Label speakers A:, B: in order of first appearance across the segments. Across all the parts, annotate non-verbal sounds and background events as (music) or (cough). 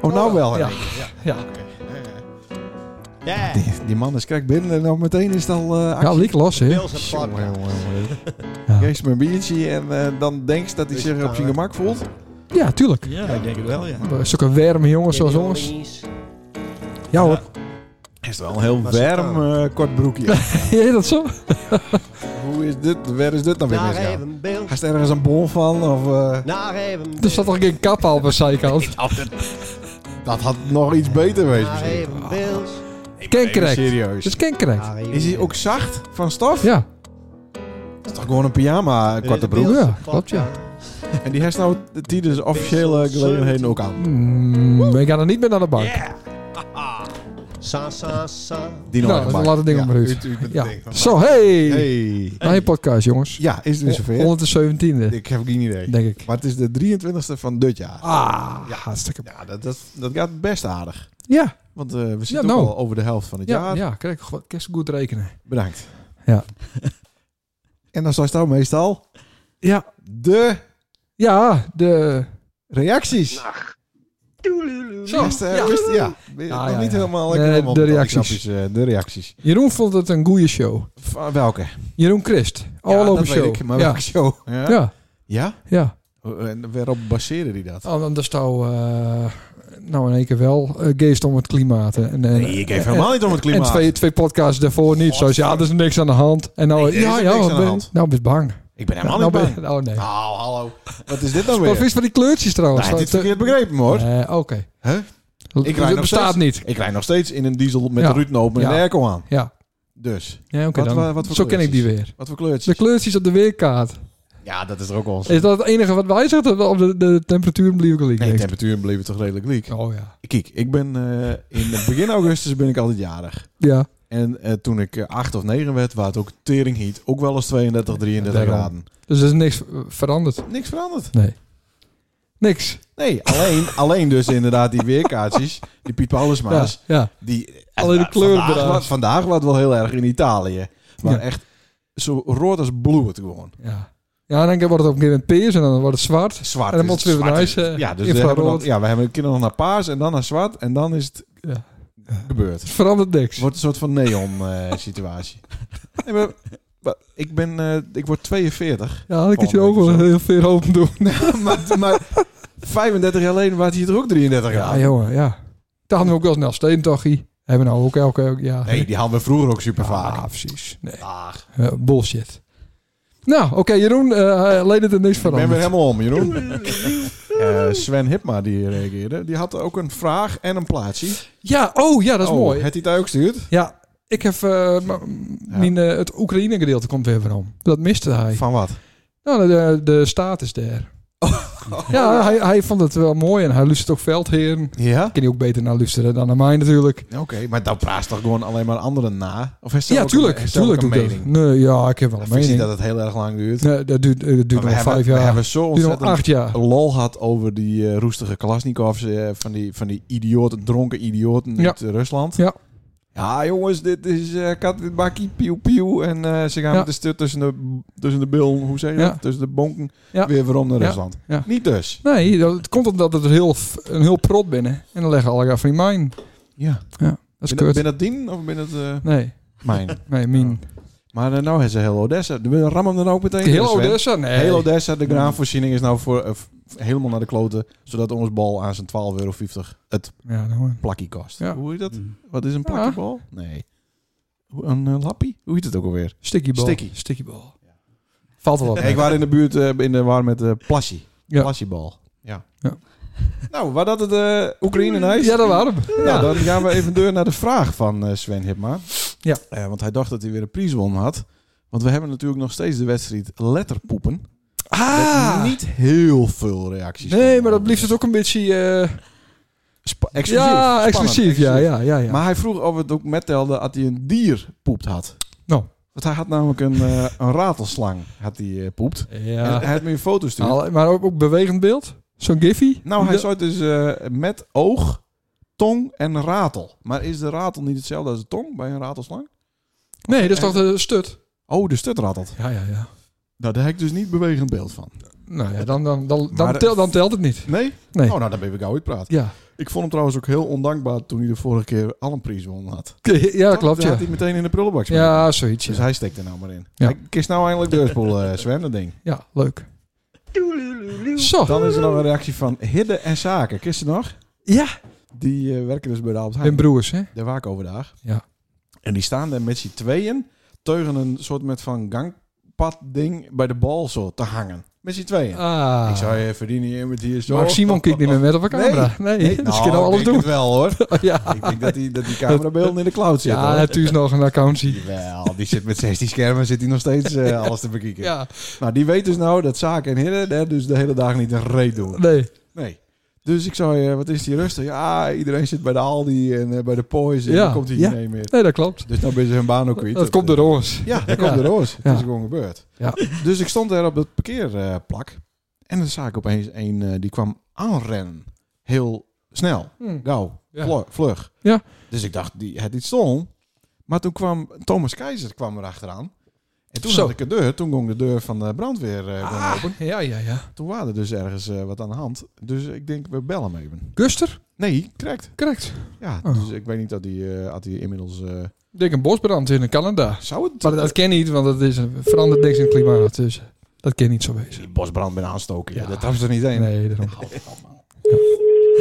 A: Oh, nou wel.
B: Ja,
A: hè.
B: ja, ja.
C: Ja.
A: Die, die man is krijg binnen en nou meteen is het al eh
B: ja
A: actie.
B: liek los, hè?
C: Pils en
A: Jongen,
C: plakken.
A: jongen, jongen.
B: Ja.
A: Geef hem een biertje en eh, dan denkt ze dat hij
C: Is
A: zich
C: het
A: op zijn
C: nou,
A: gemak voelt.
B: Ja, tuurlijk. Eh,
C: Ja, ik denk het wel, ja.
B: Zulke warme jongens zoals ons. Ja hoor.
A: Is het wel een heel
C: Was het
A: warm eh, kort broekje.
B: (laughs) Ja, dat zo?
A: Hoe is dit? Waar is dit nou weer
C: Naar
A: misgaan?
C: even beeld.
A: Hij is ergens een bol van of... eh,
C: Naar even
B: Er zat toch geen kap al op de
A: (laughs)
B: zijkant?
A: dat had nog iets beter wezen
C: Naar
A: misschien. Ah,
C: even beeld.
B: Kankerrek.
A: Serieus.
B: Het is kankerrek.
C: Naar even
A: Is hij
C: beeld.
A: ook zacht van stof?
B: Ja,
A: Dat is toch gewoon een pyjama, een
C: Dit
A: korte
C: is een
A: broek.
B: Ja,
C: Beeldse
B: klopt, ja.
C: podcast.
A: En die heeft nou die dus officiële gelegenheden ook aan.
B: Mm, we gaan er niet meer naar de bank.
C: Sa, sa, sa.
A: Die
B: Nou,
A: aan de
B: dan
A: bak.
B: laat het ding
A: ja.
B: maar uit.
A: Uit, uit met het
B: Ja.
A: ding van
B: Zo, hey!
A: bak. Hey.
B: Mijn podcast, jongens.
A: Ja, is het weer zover?
B: 117e,
A: Ik heb geen idee.
B: denk ik.
A: Maar het is de 23e van dit jaar.
B: Ah, hartstikke.
A: Ja, dat, dat, dat gaat best aardig.
B: Ja,
A: Want eh, we zitten
B: Ja, nou.
A: ook al over de helft van het
B: ja,
A: jaar.
B: ja. Kijk, goed- kerst goed rekenen.
A: Bedankt.
B: Ja.
A: en dan staat nou meestal
B: Ja,
A: de
B: ja, de...
A: reacties.
B: Zo,
A: Best, eh,
B: ja.
A: best- ja.
B: Ja,
A: nog
B: ja,
A: niet
B: ja.
A: helemaal
B: Nee,
A: lekker helemaal
B: de
A: met al die
B: reacties.
A: knopjes, eh, de reacties.
B: Jeroen vond het een goede show.
A: Van welke?
B: Jeroen Christ, all
A: Ja,
B: over
A: dat
B: show.
A: Weet ik, maar
B: ja.
A: welke show? Ja?
B: ja,
A: Ja?
B: ja.
A: En waarop baseerde die dat?
B: Oh, dan daar stou, eh, nou in één keer wel eh, geest om het klimaat. hè. En, en,
A: Nee, ik geef helemaal niet om het
B: en
A: klimaat.
B: twee, twee podcasts daarvoor niet. Zoals, ja, er is niks aan de hand. En nou,
A: Nee, er is
B: ja,
A: ook
B: ja,
A: niks aan de
B: ben-
A: hand.
B: nou ben je bang.
A: Ik ben helemaal
B: nou,
A: niet
B: ben-
A: bang.
B: oh nee.
A: Nou, hallo. Wat is dit nou
B: Wat
A: weer?
B: is van die kleurtjes
A: Nou,
B: trouwens?
A: hij heeft dit
B: Dat, eh,
A: verkeerd begrepen hoor.
B: eh, Oké.
A: Huh?
B: Dat-
A: rijd
B: Dat
A: nog
B: bestaat
A: steeds.
B: niet.
A: Ik rijd nog steeds in een diesel met
B: Ja.
A: de ruiten open en
B: Ja.
A: de airco aan.
B: Ja,
A: Dus,
B: ja oké
A: Wat-
B: dan.
A: wa- wat voor
B: Zo ken ik die
A: kleurtjes?
B: weer.
A: wat voor
B: De
A: kleurtjes?
B: kleurtjes op de weerkaart.
A: Ja, dat is er ook wel eens.
B: Is dat het enige wat wij zeggen? Op de, de temperatuur bleef ik
A: Nee, de
B: liggen.
A: temperatuur bleef toch redelijk liek.
B: Oh ja.
A: Kijk, ik ben eh, in begin augustus ben ik altijd jarig.
B: Ja.
A: En eh, toen ik eh, acht of negen werd, was het ook tering heat. Ook wel eens 32, 33
B: Daarom.
A: graden.
B: Dus er is niks eh, veranderd.
A: Niks veranderd.
B: Niks.
A: Nee, alleen, (laughs) alleen dus inderdaad die weerkaartjes. Die Piet Paulusma's.
B: Ja, ja.
A: Die,
B: Alleen de
A: eh,
B: kleur
A: vandaag,
B: eraan.
A: wa- vandaag was het wel heel erg in Italië. Maar
B: Ja.
A: echt zo rood als bloed het gewoon.
B: Ja. Ja, en dan wordt het op een gegeven moment peers en dan wordt het zwart.
A: Zwart.
B: En dan
A: is-
B: moeten we weer
A: zwart
B: naar
A: is-
B: huis, eh,
A: Ja, dus we
B: infrarood.
A: hebben dan, ja, we hebben kinderen nog naar paars en dan naar zwart. En dan is het
B: Ja.
A: gebeurd.
B: Het verandert niks.
A: Het wordt een soort van neon eh, (laughs) situatie. Nee, maar- maar ik, ben, eh, ik word 42.
B: Ja, dan kun je
A: Oh,
B: ook wel
A: zo.
B: heel veel open doen.
A: (laughs) maar, maar 35 jaar geleden was hier toch ook 33 jaar.
B: Ja, jongen, ja. Dat hadden we ook wel snel steentochie. Hebben we nou ook elke elk jaar.
A: Nee, die hadden we vroeger ook super vaak.
B: Ja, precies. Nee.
A: Ach,
B: Eh, bullshit. Nou, oké, Jeroen, eh leed het er niks
A: ik ben weer
B: veranderd.
A: helemaal om, Jeroen.
B: (laughs)
A: Eh, Sven Hipma, die reageerde, die had ook een vraag en een plaatsje.
B: Ja, oh ja, dat is
A: Oh,
B: mooi.
A: Het die daar ook stuurt?
B: Ja, ik heb... eh, m- mijn, eh, het Oekraïne-gedeelte komt weer van om. Dat miste hij.
A: Van wat?
B: Nou, de, de staat is daar.
A: Oh,
B: Ja, hij, hij vond het wel mooi en hij luistert ook Veldheren.
A: Ja?
B: Ken je ook beter naar luisteren dan naar mij natuurlijk.
A: Oké, maar dan praat toch gewoon alleen maar anderen na? Of is
B: ja, tuurlijk.
A: eh,
B: tuurlijk doe
A: doe
B: ik dat. Nee, ja, ik heb wel een
A: Vind je
B: mening.
A: dat het heel erg lang duurt?
B: Nee, dat duurt, eh, dat duurt
A: Maar
B: nog
A: we hebben,
B: vijf
A: We
B: jaar.
A: hebben zo
B: duurt nog
A: ontzettend Oh.
B: acht jaar.
A: lol had over die eh, roestige Klasnikovs eh, van, die, van die idioten, dronken idioten
B: Ja.
A: uit eh, Rusland.
B: Ja.
A: Ja, jongens, dit is eh kat in het bakkie, pieuw, pieuw. En eh, ze gaan
B: Ja.
A: met de stut tussen de, tussen de bil, hoe zeg je
B: Ja.
A: dat? Tussen de bonken,
B: Ja.
A: weer weer om naar
B: Ja.
A: Rusland.
B: Ja.
A: Niet dus.
B: Nee, dat het komt omdat het heel, f- een heel prot binnen. En dan leggen alle van die mijn.
A: Ja.
B: Dat is
A: Ben,
B: kut.
A: ben dat dien of ben dat eh,
B: Nee,
A: mijn? (laughs)
B: nee, min.
A: Maar eh, nou is ze heel Odessa. We rammen hem dan ook meteen.
B: Heel
A: Sven.
B: Odessa? Nee.
A: Heel Odessa, de graanvoorziening is nou voor, eh, f- helemaal naar de kloten. Zodat ons bal aan zijn 12,50 euro het
B: Ja, nou,
A: plakkie kost.
B: Ja.
A: Hoe heet dat?
C: Mm.
A: Wat is een
B: Ja.
A: plakkiebal? Nee. Hoe- Een eh, lappie? Hoe heet het ook alweer?
B: sticky ball.
A: Sticky.
B: ball. Valt wel op.
A: Nee, ik was in de buurt eh, in de war met eh plassie.
B: Ja.
A: Plassiebal. Ja.
B: Ja.
A: Nou, waar dat het eh, Oekraïne nou is.
B: Ja, dat waren we.
A: Nou,
B: Ja.
A: dan gaan we even door naar de vraag van eh, Sven Hipma.
B: Ja.
A: Eh, want hij dacht dat hij weer een prieswon had. Want we hebben natuurlijk nog steeds de wedstrijd letterpoepen.
B: Ah!
A: Met niet heel veel reacties.
B: Nee,
A: van,
B: maar dat
A: eh,
B: blijft het ook een beetje... eh,
A: spa- exclusief.
B: ja,
A: Spannend,
B: exclusief. Ja, ja, ja. ja.
A: Maar hij vroeg of het ook mettelde dat hij een dier poept had.
B: Nou.
A: Want hij had namelijk een, eh, een ratelslang had hij, eh, poept. En
B: ja. Nou,
A: hij had me een foto sturen.
B: Al- maar ook, ook bewegend beeld. Zo'n giffy.
A: Nou, hij
B: Dat-
A: zou het dus eh, met oog, tong en ratel. Maar is de ratel niet hetzelfde als de tong bij een ratelslang?
B: Nee, dat is toch de stut?
A: Oh, de stut ratelt.
B: Ja, ja, ja.
A: Nou, daar heb ik dus niet bewegend beeld van.
B: Nou ja, dan, dan, dan, dan,
A: Maar-
B: tel- dan telt het niet.
A: Nee?
B: Nee.
A: Oh, nou, dan ben ik gauw uitpraat.
B: Ja,
A: Ik vond hem trouwens ook heel ondankbaar toen hij de vorige keer al een prijs won had.
B: ja klopt,
A: Had
B: ja.
A: hij meteen in de prullenbak staan.
B: Ja, zoiets.
A: Dus
B: Ja,
A: hij steekt er nou maar in.
B: Ja.
A: Hij kiest nou eindelijk deurspoel, eh Sven, dat ding.
B: ja leuk. Zo,
A: Dan is er nog een reactie van Hidde en Zaken. Kist ze nog?
B: Ja.
A: Die eh, werken dus bij de Albert
B: Wim
A: Heijn.
B: Broers, hè?
A: Daar waak overdag.
B: Ja.
A: En die staan daar met z'n tweeën tegen een soort met van gangpad ding bij de bal zo te hangen. Met z'n tweeën.
B: Ah.
A: Ik zou je verdienen hier met hier zo.
B: Maar Simon kijkt niet meer met op een camera. Nee,
A: (laughs)
B: (laughs)
A: Nee,
B: dus kunnen
A: nou,
B: we alles
A: ik denk
B: doen.
A: het wel
B: (laughs)
A: hoor.
B: ja,
A: ik denk dat die, dat die camerabeelden in de cloud zitten.
B: ja
A: hoor.
B: hebt u eens nog een account zien.
A: Jawel, die zit met 16 schermen, zit hij nog steeds eh, alles te bekijken.
B: (laughs) Ja,
A: Nou, die weet dus nou dat zaken en hidden hè, dus de hele dag niet een reet doen.
B: nee.
A: Nee. Dus ik zou je, wat is die rustig? Ja, iedereen zit bij de Aldi en eh, bij de Poys en
B: Ja,
A: dan komt hij
B: ja.
A: nee meer.
B: Nee, dat klopt.
A: Dus dan ben ze hun baan ook kwijt.
B: Dat komt door ons.
A: Ja, dat komt door ons. Het
B: Ja.
A: is gewoon gebeurd.
B: Ja.
A: Dus ik stond daar op het parkeerplak en dan zag ik opeens een eh, die kwam aanrennen. Heel snel.
B: Hm.
A: Gauw,
B: Ja.
A: vlo- vlug.
B: Ja.
A: Dus ik dacht, die had iets stom. Maar toen kwam Thomas Keizer kwam er achteraan. En toen
B: Zo. Ah.
A: had ik de deur, toen ging de deur van de brandweer eh, gewoon open.
B: Ja, ja, ja.
A: Toen waren er dus ergens eh, wat aan de hand. Dus ik denk, we bellen hem even.
B: Guster?
A: Nee, correct.
B: Correct.
A: Ja,
B: Oh.
A: dus ik weet niet dat hij eh, had hij inmiddels... eh,
B: Ik denk een bosbrand in Canada.
A: zou het...
B: Maar dat ken niet, want dat is een, verandert niks in het klimaat. Dus dat kan niet zo wezen.
A: Die bosbrand ben aanstoken. Ja,
B: Ja.
A: dat was er niet één.
B: Nee, daarom.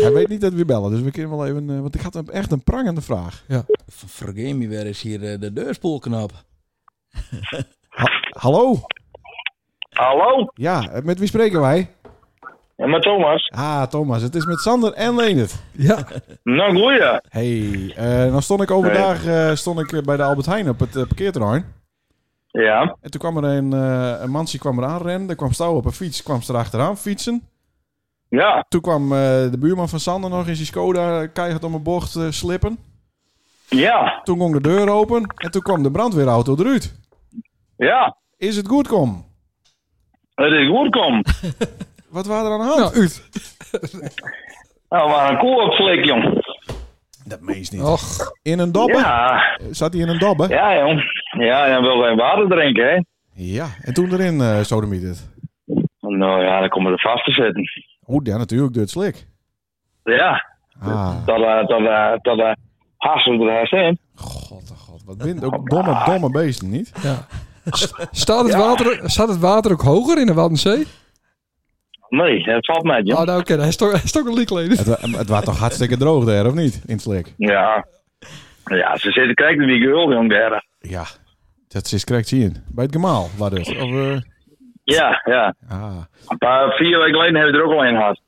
A: Hij weet niet dat we bellen, dus we kunnen wel even... eh, want ik had hem echt een prangende vraag.
D: Ver- Vergeet me, waar is hier eh, de deurspoelknap?
A: Hallo?
E: Hallo,
A: Ja, eh, met wie spreken wij?
E: en met Thomas.
A: Ah, Thomas, het is met Sander en Leendert.
B: Ja,
E: Nou, goeie.
A: Hey, eh, nou stond ik overdag eh, stond ik eh, bij de Albert Heijn op het eh, parkeerterrein.
E: Ja,
A: En toen kwam er een, eh een mansje kwam eraan rennen. Er kwam Stouw op een fiets, kwam ze erachteraan fietsen.
E: ja,
A: Toen kwam eh, de buurman van Sander nog in zijn Skoda eh, keihard om een bocht eh, slippen.
E: ja,
A: Toen ging de deur open en toen kwam de brandweerauto eruit.
E: ja.
A: Is het goed, kom?
E: Het is goed kom.
A: Wat waren er aan de hand?
B: nou, Ut.
E: Nou, maar een koopflik, jong.
A: dat meest niet.
B: Och,
A: In een dobbe?
E: Ja,
A: Zat hij in een dobbe? Ja.
E: ja, jong. Ja, dan wil wij water drinken, hè.
A: En toen erin, eh sodemiet het.
E: Nou ja, dan komen we er vast te zitten.
A: Oeh, ja, natuurlijk, door het slik.
E: Ja,
A: Ah,
E: dat, eh, dat, eh, dat, eh, hassen we er zijn.
A: god, oh god. Wat wint ook domme, domme beesten, niet?
B: ja. S- Staat het, water, staat het water ook hoger in de Waddenzee?
E: Nee, het valt met,
B: Ja. Eh,
E: jong.
B: Oh, nou, oké. Hij is toch, hij is toch een liekleden.
A: Het, wa- het was toch hartstikke droog daar, of niet? In het slik.
E: Ja. Ja, ze zitten kijken naar die girl, jong, daar.
A: Ja, dat is correct zien. Bij het gemaal, waar dus. Of, eh,
E: Ja, ja.
A: ah.
E: Een paar, vier weken geleden hebben we er ook al een gehad.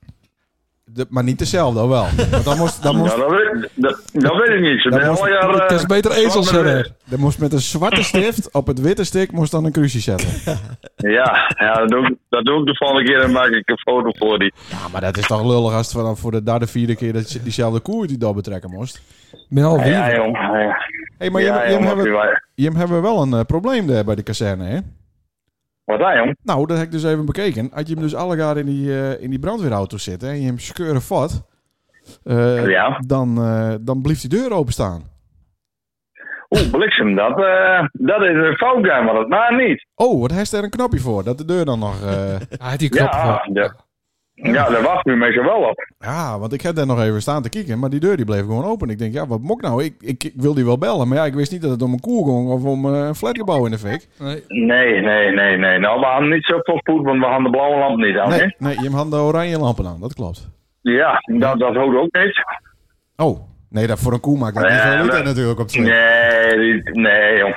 A: De- maar niet dezelfde, oh wel. Want dan moest, dan moest,
E: Ja, dat weet, dat, dat weet ik niet. Ze
A: Dat
E: zijn
A: moest-
E: al jaar...
B: Het
E: eh,
B: is beter ezels
E: zwart met
B: hebben.
A: dan moest met een zwarte stift op het witte stick moest dan een crucie zetten.
E: Ja, ja dat, doe ik, dat doe ik de volgende keer en maak ik een foto voor die.
A: Ja, Ah, maar dat is toch lullig als het voor- voor de derde, vierde keer dat je diezelfde koer die dat betrekken moest.
B: Ben al wie?
E: Ja, jong. Ja,
A: hey, maar
E: ja,
A: Jim, Jim
E: jong,
A: hebben,
E: wat-
A: Jim hebben we wel een eh, probleem daar bij de kazerne, hè?
E: Wat daar, jong?
A: Nou, dat heb ik dus even bekeken. Had je hem dus allegaar in die, eh, in die brandweerauto zitten en je hem scheuren vat, eh,
E: Ja.
A: dan, eh, dan blijft die deur openstaan.
E: Oeh, bliksem, dat, eh, dat is een fout, guy, maar dat maakt niet.
A: Oh, wat heeft er een knopje voor? Dat de deur dan nog... eh,
B: Hij had die knop
E: Ja,
B: gehad.
E: de, ja, daar wacht u met je wel op.
A: Ja, want ik heb daar nog even staan te kijken, maar die deur die bleef gewoon open. Ik denk, ja, wat mok nou? Ik, ik, ik wil die wel bellen, maar ja, ik wist niet dat het om een koer ging of om eh, een flatgebouw in de fik.
B: Nee.
E: Nee, nee, nee, nee. Nou, we hadden niet zoveel spoed, want we hadden de blauwe lamp niet aan,
A: Nee, nee, je had de oranje lampen aan, dat klopt.
E: hè? Ja, dat, dat houdt ook niet.
A: Oh, nee, dat voor een koe maakt dat niet
E: Nee,
A: veel uit
E: nee.
A: hè, natuurlijk op het slik.
E: Nee, die- nee, jong.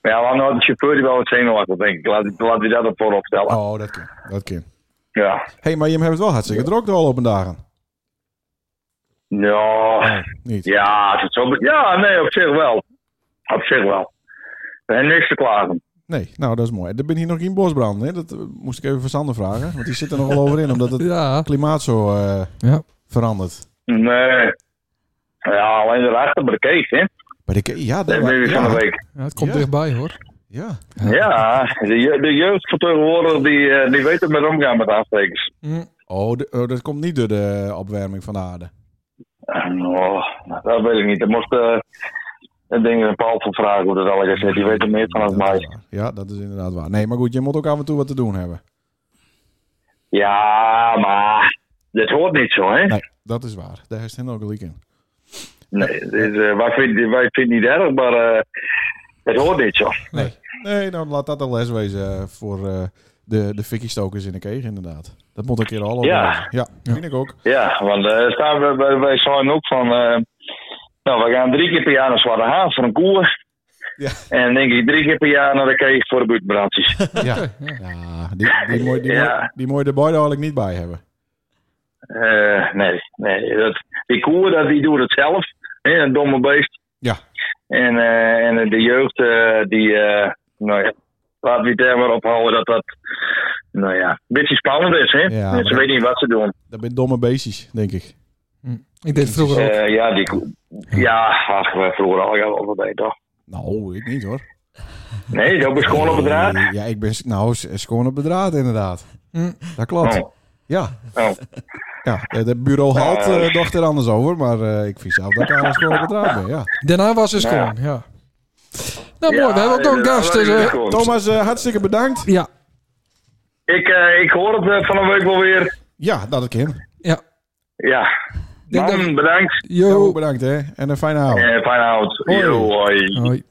E: Maar Ja, we hadden nou de chauffeur die wel wat zenuwachtig, denk ik. Laat, laat die dat ervoor opstellen.
A: Oh, dat kan, dat kan.
E: Ja.
A: Hé, hey, maar je hebt het wel hartstikke druk de afgelopen dagen.
E: Ja,
A: Nee, niet.
E: Ja, als het zo be- ja, nee, op zich wel. Op zich wel. Er is niks te klagen.
A: Nee, nou, dat is mooi. Er ben hier nog geen bosbrand, hè? Dat eh, moest ik even van Sander vragen, want die zit er nogal over in, omdat het
B: Ja.
A: klimaat zo eh,
B: Ja.
A: verandert.
E: Nee. Ja, alleen de rechter bekeek, hè?
A: Maar ik, ja, dat
E: Dat
A: wa-
E: ben ik van de
A: ja,
E: week.
B: Ja, het komt
A: Ja.
B: dichtbij, hoor.
A: ja.
E: Ja, de, je- de jeugdvertegenwoordiger die, eh, die weet er met omgaan met aftekens.
B: Hm.
A: Oh, de- oh, dat komt niet door de opwarming van de aarde.
E: Oh, dat weet ik niet. Dat moest, eh, Ik denk dat Paul van vragen hoe dat al is. Die weet er meer van als
A: Dat is
E: mij.
A: waar. Ja, dat is inderdaad waar. Nee, maar goed, je moet ook af en toe wat te doen hebben.
E: Ja, maar dat hoort niet zo, hè?
A: Nee, dat is waar. Daar is het ook gelijk in.
E: Nee, dit, is, eh, wij vinden wij vinden het niet erg, maar eh, het hoort niet zo.
A: Nee, nee dan laat dat een les wezen eh, voor eh, de, de fikkiestokers in de keeg, inderdaad. Dat moet een keer al
E: Ja.
A: overleven. Ja, vind ik ook.
E: Ja, want eh, staan we, wij, wij zijn ook van. eh, nou, we gaan drie keer per jaar naar Zwarte Haan voor een koe.
A: Ja.
E: En denk ik drie keer per jaar naar de keeg voor de buurtbrandjes.
A: (laughs) Ja, ja die, die, mooi, die,
E: Ja.
A: mooi, die mooi de boy daar ik niet bij hebben.
E: Eh, nee, nee. Dat, die koeien, dat, die doen het zelf. Hè, een domme beest.
A: Ja.
E: En, eh, en de jeugd, eh, die... eh, nou ja, laten we het daar maar ophouden dat dat... Nou ja, een beetje spannend is, hè.
A: Ja,
E: En
A: maar
E: ze
A: dat-
E: weten niet wat ze doen.
A: Dat zijn domme beestjes, denk ik.
B: Ik deed vroeger ook.
E: Eh, ja, die koe... Ja, ach, we vroeger al gaan over bij, toch?
A: Nou, ik niet hoor.
E: Nee, dat is gewoon op het raad.
A: Nee, Ja, ik ben s- nou s- s- gewoon op het draad, inderdaad.
B: Hm.
A: Dat klopt.
E: Oh.
A: Ja.
E: Oh.
A: ja, eh, de bureau haalt
E: Nou,
A: eh dacht er anders over, maar eh, ik vind zelf dat ik alles gewoon op het draad ben. Ja.
B: Daarna was het gewoon, ja. Nou, mooi. We hebben ook nog een gast. dus, eh,
A: Thomas, eh, hartstikke bedankt.
B: ja,
E: Ik, eh, ik hoor het eh, van een week wel weer.
A: Ja, dat ik hem.
B: ja.
E: Ja.
B: denk
E: Man,
B: dat-
E: bedankt.
A: Jou
B: Yo.
A: ook bedankt hè. En een fijne avond.
E: Eh fijn oud.
A: Hoi.
E: Yo, hoi.
B: Hoi.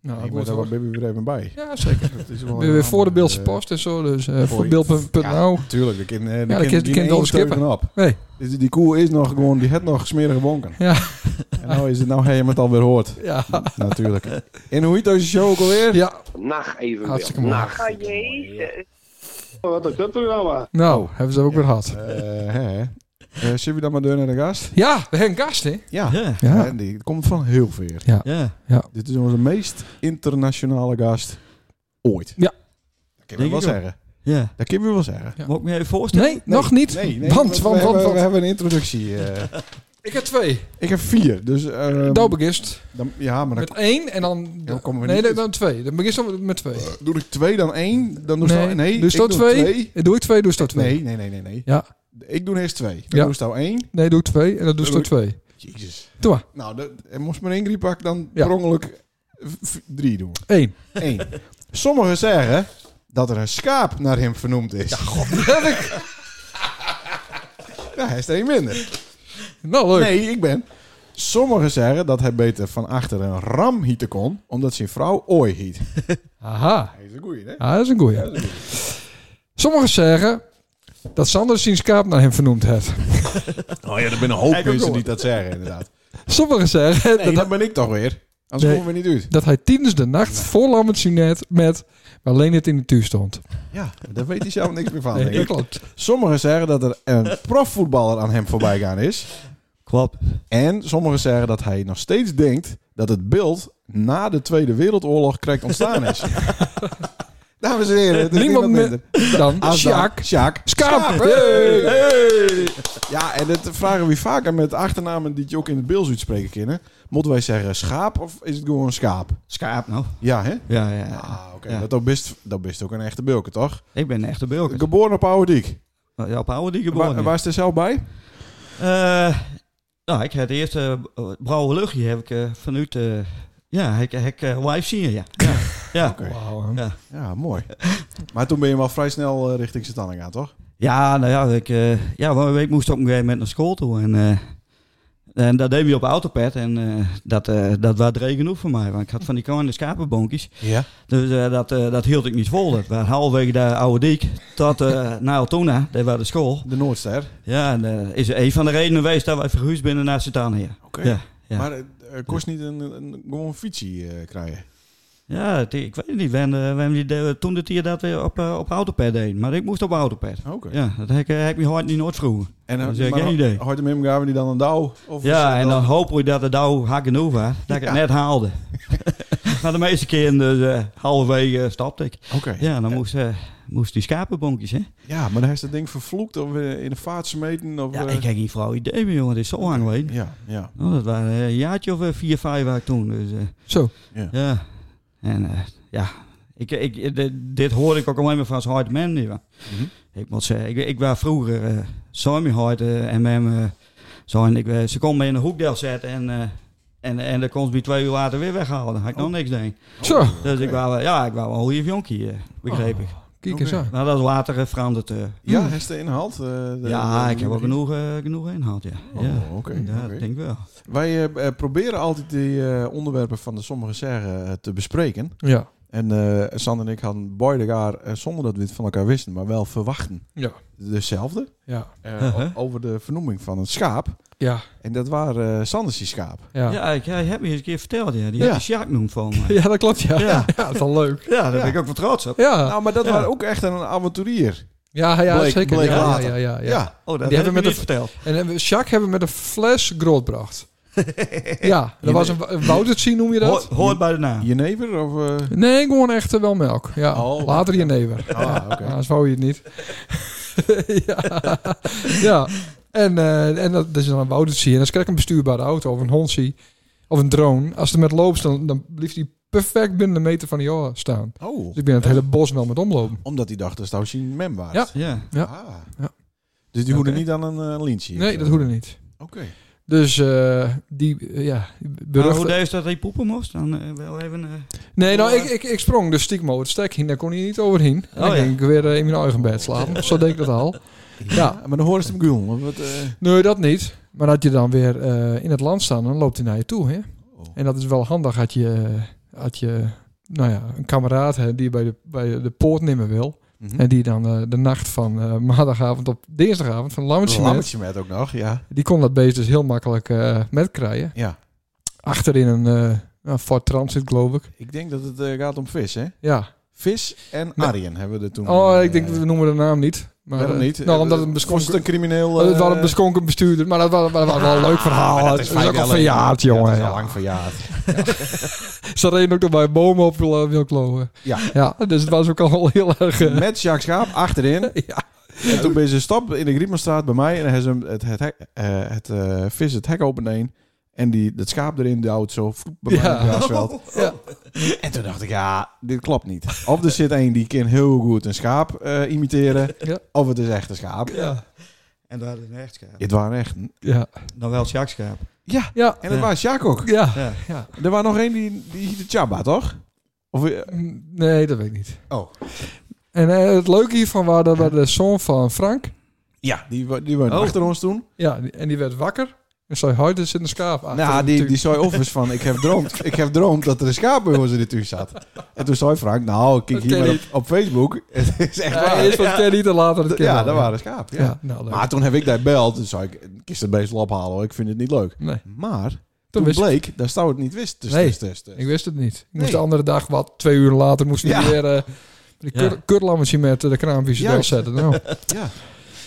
B: Nou,
A: ik moet
B: ik word
A: daar wat
B: wel.
A: Bibby weer even bij.
B: Ja, zeker.
A: Dat is wel
B: We weer voor de Beeldse Post en zo, dus eh voor beeld.nl.
A: Ja, tuurlijk. De kind, eh, de
B: Ja,
A: ja,
B: de kind-
A: kind,
B: de kind
A: die
B: doodskippen.
A: skippen op.
B: Nee,
A: Dus Die, die koe is nog gewoon, die had nog smerige bonken.
B: ja,
A: En nou is het, nou heb je hem het alweer hoort.
B: ja.
A: Natuurlijk. En hoe heet deze show ook alweer?
B: Ja,
F: Nacht even
B: Hartstikke
F: wel.
B: mooi.
F: Nacht.
G: Oh jezus.
E: Oh,
F: Wat is dat programma?
B: nou, hebben ze ook weer gehad.
A: Eh, hè, hè. Eh, zullen we dan maar deur naar de gast?
B: Ja, we hebben een gast, hè?
A: Ja.
D: Ja.
B: Ja.
A: Eh, die komt van heel ver.
D: Ja.
A: Dit is onze meest internationale gast ooit.
B: Ja.
A: Dat kunnen
D: Denk
A: we wel
D: ik ook.
A: zeggen.
D: Ja.
A: Dat kunnen we wel zeggen.
D: Moet ik me even voorstellen?
B: Nee, nog niet. want,
A: we,
B: want,
A: hebben,
B: want, want-
A: we hebben een introductie.
B: (laughs)
A: eh.
B: Ik heb twee.
A: ik heb vier, dus... ehm,
B: Dan begist
A: dan, ja, maar dan
B: met één en dan...
A: dan komen we
B: nee,
A: niet
B: dan,
A: uit.
B: dan twee. Dan begist dan met twee.
A: doe ik twee, dan één, dan doe ik
B: nee,
A: dan- nee,
B: doe
A: ik
B: je dat
A: doe
B: twee? Eh, Doe ik twee, doe je dat twee.
A: Nee, nee, nee, nee, nee.
B: Ja,
A: Ik doe eerst twee. Dan
B: Ja.
A: doe ik nou één.
B: nee, doe ik twee en dan doe je
A: Dan
B: dat twee.
A: Jezus.
B: Doe maar,
A: Nou, dat, en moest maar één griep pakken, dan
B: Ja.
A: per ongeluk v- v- drie doen.
B: één.
A: Eén. Sommigen zeggen dat er een schaap naar hem vernoemd is. Ja, god. ja, hij is er één minder.
B: Nou, leuk.
A: Nee, ik ben. Sommigen zeggen dat hij beter van achter een ram hieten kon, omdat zijn vrouw ooi hiet.
B: Aha,
A: Hij is een goeie, hè?
B: ah, dat is een goeie. Sommigen zeggen dat Sander zijn schaap naar hem vernoemd heeft.
A: Oh ja, er zijn een hoop
B: ook
A: mensen
B: gehoord.
A: die dat zeggen, inderdaad.
B: Sommigen zeggen
A: Nee,
B: dat,
A: dat ben ik toch weer. Anders
B: Nee.
A: komen we niet uit.
B: dat hij tijdens de nacht voor Lambert Sinet met alleen het in de tuin stond.
A: Ja, daar weet hij zelf niks meer van.
B: Nee, dat
A: denk ik.
B: klopt.
A: Sommigen zeggen dat er een profvoetballer aan hem voorbij gaan is.
D: Klopt.
A: En sommigen zeggen dat hij nog steeds denkt dat het beeld na de Tweede Wereldoorlog correct ontstaan is. Dames en heren, het is
B: Niemand
A: niemand minder.
B: meer dan Sjaak.
A: Sjaak. Sjaak.
B: Schaap.
A: Hey.
D: Hey.
A: Ja, en dat vragen we vaker met achternamen die je ook in het Beels uitspreken kennen. Moeten wij zeggen schaap of is het gewoon schaap?
H: Schaap nou.
A: Ja, hè?
H: Ja, ja.
A: Ah, oké.
H: Ja.
A: Dat, ook best, dat best ook een echte bulke, toch?
H: Ik ben een echte bulker.
A: Geboren op Oude Diek.
H: Ja, op oude die
A: Waar,
H: geboren.
A: waar is hij zelf bij?
H: Eh, nou, ik heb de eerste eh, blauwe luchtje heb ik eh, vanuit... eh, ja, ik heb live zien, ja. Ja, ja.
B: Wauw, hè.
H: Ja.
A: Ja, mooi. (laughs) Maar toen ben je wel vrij snel eh, richting Satan gegaan, toch?
H: Ja, nou ja, ik, eh, ja, maar ik moest op een gegeven moment naar school toe. En, eh, en dat deed we op autopad. En eh, dat, eh, dat was dreig genoeg voor mij. Want ik had van die kleine schapenboontjes.
A: Ja.
H: Dus eh, dat, eh, dat hield ik niet vol. Dat was halverwege de oude diek tot eh naar Altona. Dat was de school.
A: De Noordster.
H: Ja, en, eh, is een van de redenen geweest dat wij verhuisd binnen naar Sitania.
A: Oké.
H: Ja, ja.
A: Maar het eh, kost niet een, een gewoon fietsie eh, krijgen.
H: ja het- ik weet het niet. Wen, eh, wen die de- toen dat hier dat weer op, eh, op autopad deed. Maar ik moest op autopad.
A: Oké.
H: Ja, dat heb ik, eh, heb ik me hard niet nooit vroeger.
A: En
H: Dat
A: dan
H: is geen idee.
A: Hoort hem in elkaar die dan een douw? Of is
H: Ja,
A: het
H: en dan hoop ik dat het nou hard genoeg was. Dat ik
A: Ja.
H: het net
A: (laughs)
H: haalde. maar de meeste keren, dus eh, halverwege eh, stopte ik.
A: Oké. Ja.
H: Ja, dan moest, eh, moest die schapenbonkjes, hè.
A: maar dan is dat ding vervloekt of eh, in de vaat smeten of...
H: Ja,
A: eh,
H: ik heb geen vrouw idee meer, jongen. Dat is zo lang geleden.
A: ja, ja.
H: Nou, dat waren eh, een jaartje of eh, vier, vijf was ik toen. Dus, eh,
B: Zo.
H: Ja, en eh, ja, ik, ik, dit, dit hoorde ik ook alleen maar van zijn hard man. nieuwe. Ik moet zeggen, ik, ik was vroeger eh samen hard eh, en met hem, eh, zo, en ik, eh, ze kon me in een hoekdeel zetten en, eh, En, en dan kon ze bij twee uur later weer weghalen. Dan had ik nog niks deed.
B: Zo,
A: Oh.
H: Dus ik wou, wel- ja, ik wou wel een goede jonkie, eh, begreep ik.
A: Oh,
B: kijk eens aan.
H: Nou, dat is later eh, veranderd. eh.
A: Ja, heeft de inhaald? eh, de-
H: ja,
A: de-
H: ik heb wel genoeg, eh, genoeg inhoud, ja.
A: Oh,
H: ja.
A: oké.
H: ja,
A: oké.
H: ik denk wel.
A: Wij eh, eh, proberen altijd die eh, onderwerpen van de sommige zeggen eh, te bespreken.
B: Ja.
A: En eh San en ik hadden beide elkaar, eh, zonder dat we het van elkaar wisten, maar wel verwachten.
B: Ja.
A: Dezelfde.
B: Ja.
A: eh,
H: Uh-huh.
A: o- Over de vernoeming van een schaap.
B: Ja.
A: En dat waren eh Sanders die schaap.
B: Ja. ja.
H: Ja, ik, jij hebt me eens een keer verteld, ja. Die
A: Ja.
H: had die Sjaak noemt van me.
B: dat klopt. Ja. (laughs) Ja,
H: Ja.
B: dat is wel leuk.
H: Ja, daar ben ik ook wel trots op.
B: Ja,
A: Nou, maar dat
H: Ja.
A: was ook echt een avonturier.
B: ja, ja
A: Bleek-
B: zeker.
A: bleek
B: ja,
A: later.
B: ja, ja, ja.
A: Ja.
H: Oh, dat
B: Die hebben
H: heb ik me
B: met
H: niet verteld.
B: En eh, Jacques hebben we met een fles groot
A: (laughs)
B: gebracht. ja, dat was een wa- een woutertje noem je dat?
H: Hoort, hoort bij de naam.
A: Jenever of... eh,
B: Nee, gewoon echt eh, wel melk. Ja.
A: Oh.
B: Later je never.
A: Ah, oké.
B: Ja, anders wou je het niet. (laughs) ja. ja. En, eh, en dat, dat is dan een woutertje. En dan krijg ik een bestuurbare auto of een Honsie of een drone. Als het er met loopt, dan, dan blijft die perfect binnen een meter van die oor staan.
A: Oh,
B: Dus ik ben het hele bos wel met omlopen.
A: omdat hij dacht dat het Sien Mem was.
B: Ja.
H: Ja.
B: Ja.
A: Ah.
B: Ja.
A: Dus die hoeden
B: Oké.
A: niet aan een uh, lintje?
B: Nee, dat hoorde niet.
A: Oké.
B: Dus eh, die, eh, ja,
H: Maar
B: beruchte...
H: Nou, hoe deed dat hij poepen moest? Dan eh, wel even... eh,
B: Nee, nou, ik, ik, ik sprong dus stiekem over het stek heen. Daar kon hij niet overheen. En dan
H: Oh, ja.
B: ging ik weer eh, in mijn eigen bed slapen. Zo deed ik dat al. Ja,
A: Maar dan horen ze hem gul. want Wat, eh,
B: nee, dat niet. Maar dat je dan weer eh, in het land staat, dan loopt hij naar je toe. Hè?
A: Oh.
B: En dat is wel handig dat je, eh, dat je nou ja, een kameraad hebt die je bij de, bij de poort nemen wil.
A: mhm.
B: En die dan eh, de nacht van eh, maandagavond op dinsdagavond van Lammetje
A: Een
B: net,
A: lammetje met ook nog, ja.
B: Die kon dat beest dus heel makkelijk eh met krijgen.
A: ja.
B: Achterin een, eh een Ford Transit, geloof ik.
A: Ik denk dat het eh, gaat om vis, hè?
B: Ja.
A: Vis en
B: Nee.
A: Arjen hebben we er toen.
B: Oh,
A: eh,
B: ik denk, we noemen de naam niet. Maar,
A: Waarom
B: eh,
A: niet?
B: Nou, omdat het een
A: was het
B: beschonken
A: een crimineel.
B: Het
A: eh,
B: was een beschonken bestuurder, maar dat was, dat was wel een leuk verhaal.
A: maar
B: Het is, ook al verjaard,
A: Ja,
B: jongen.
A: dat is al
B: ja.
A: lang
B: (laughs)
A: verjaard.
B: Ze reden ook nog bij bomen op wil, wil kloven.
A: Ja.
B: ja, dus het was ook al wel heel erg... eh,
A: Met Jacques Schaap achterin.
B: (laughs) ja.
A: En toen ben ze stap in de Griepmanstraat bij mij. En hij ze hem het, het, hek, eh, het eh, vis het hek opendeen. En die, dat schaap erin duwt zo vloep, bij mij
B: Ja.
A: in het
B: (laughs)
A: grasveld.
H: Oh.
B: Ja.
A: En toen dacht ik, ja, dit klopt niet. Of er zit een die kan heel goed een schaap eh, imiteren.
B: (laughs) Ja.
A: Of het is echt een schaap.
B: Ja.
H: En daar is een rechtschaap.
A: Het waren echt...
B: Ja.
H: Dan wel Sjakschaap.
A: Ja,
B: Ja.
A: en dat was Jacques ook.
B: Ja.
H: Ja.
A: Er was nog één die, die heette Chaba, toch? Of, eh,
B: Mm, Nee, dat weet ik niet.
A: Oh.
B: En eh, het leuke hiervan was dat we de zoon van Frank...
A: ja, die, wa- die waren
H: Oh.
A: achter ons toen.
B: Ja, die- en die werd wakker. En zei, hoi, er zit een schaap achter.
A: nou,
B: hem
A: die, die
B: Ah, natuurlijk.
A: zei overigens van, ik heb droomd, ik heb droomd dat er een schaap bij ons in de tuin zat. En toen zei Frank, nou, kijk
B: Dat
A: hier
B: ken
A: maar op, op Facebook. (laughs) Het is echt
B: Ja,
A: waar.
B: eerst van Kenny, dan later het
A: D-
B: kind.
A: ja, dat waren schaap.
B: Ja,
A: Ja.
B: nou, leuk.
A: Maar toen heb ik daar beld, toen zei ik, kist het beest wel ophalen, hoor, ik vind het niet leuk.
B: Nee,
A: Maar toen,
B: toen wist ik.
A: bleek, daar zou het niet wist. Dus,
B: Nee.
A: dus, dus, dus.
B: Ik wist het niet. Ik moest
A: Nee.
B: de andere dag, wat, twee uur later, moest ik
A: Ja.
B: weer eh die
H: Ja.
B: kur- kurlammetje met eh, de kraampjes erop
A: Juist. (laughs)
B: zetten. Nou,
A: Ja,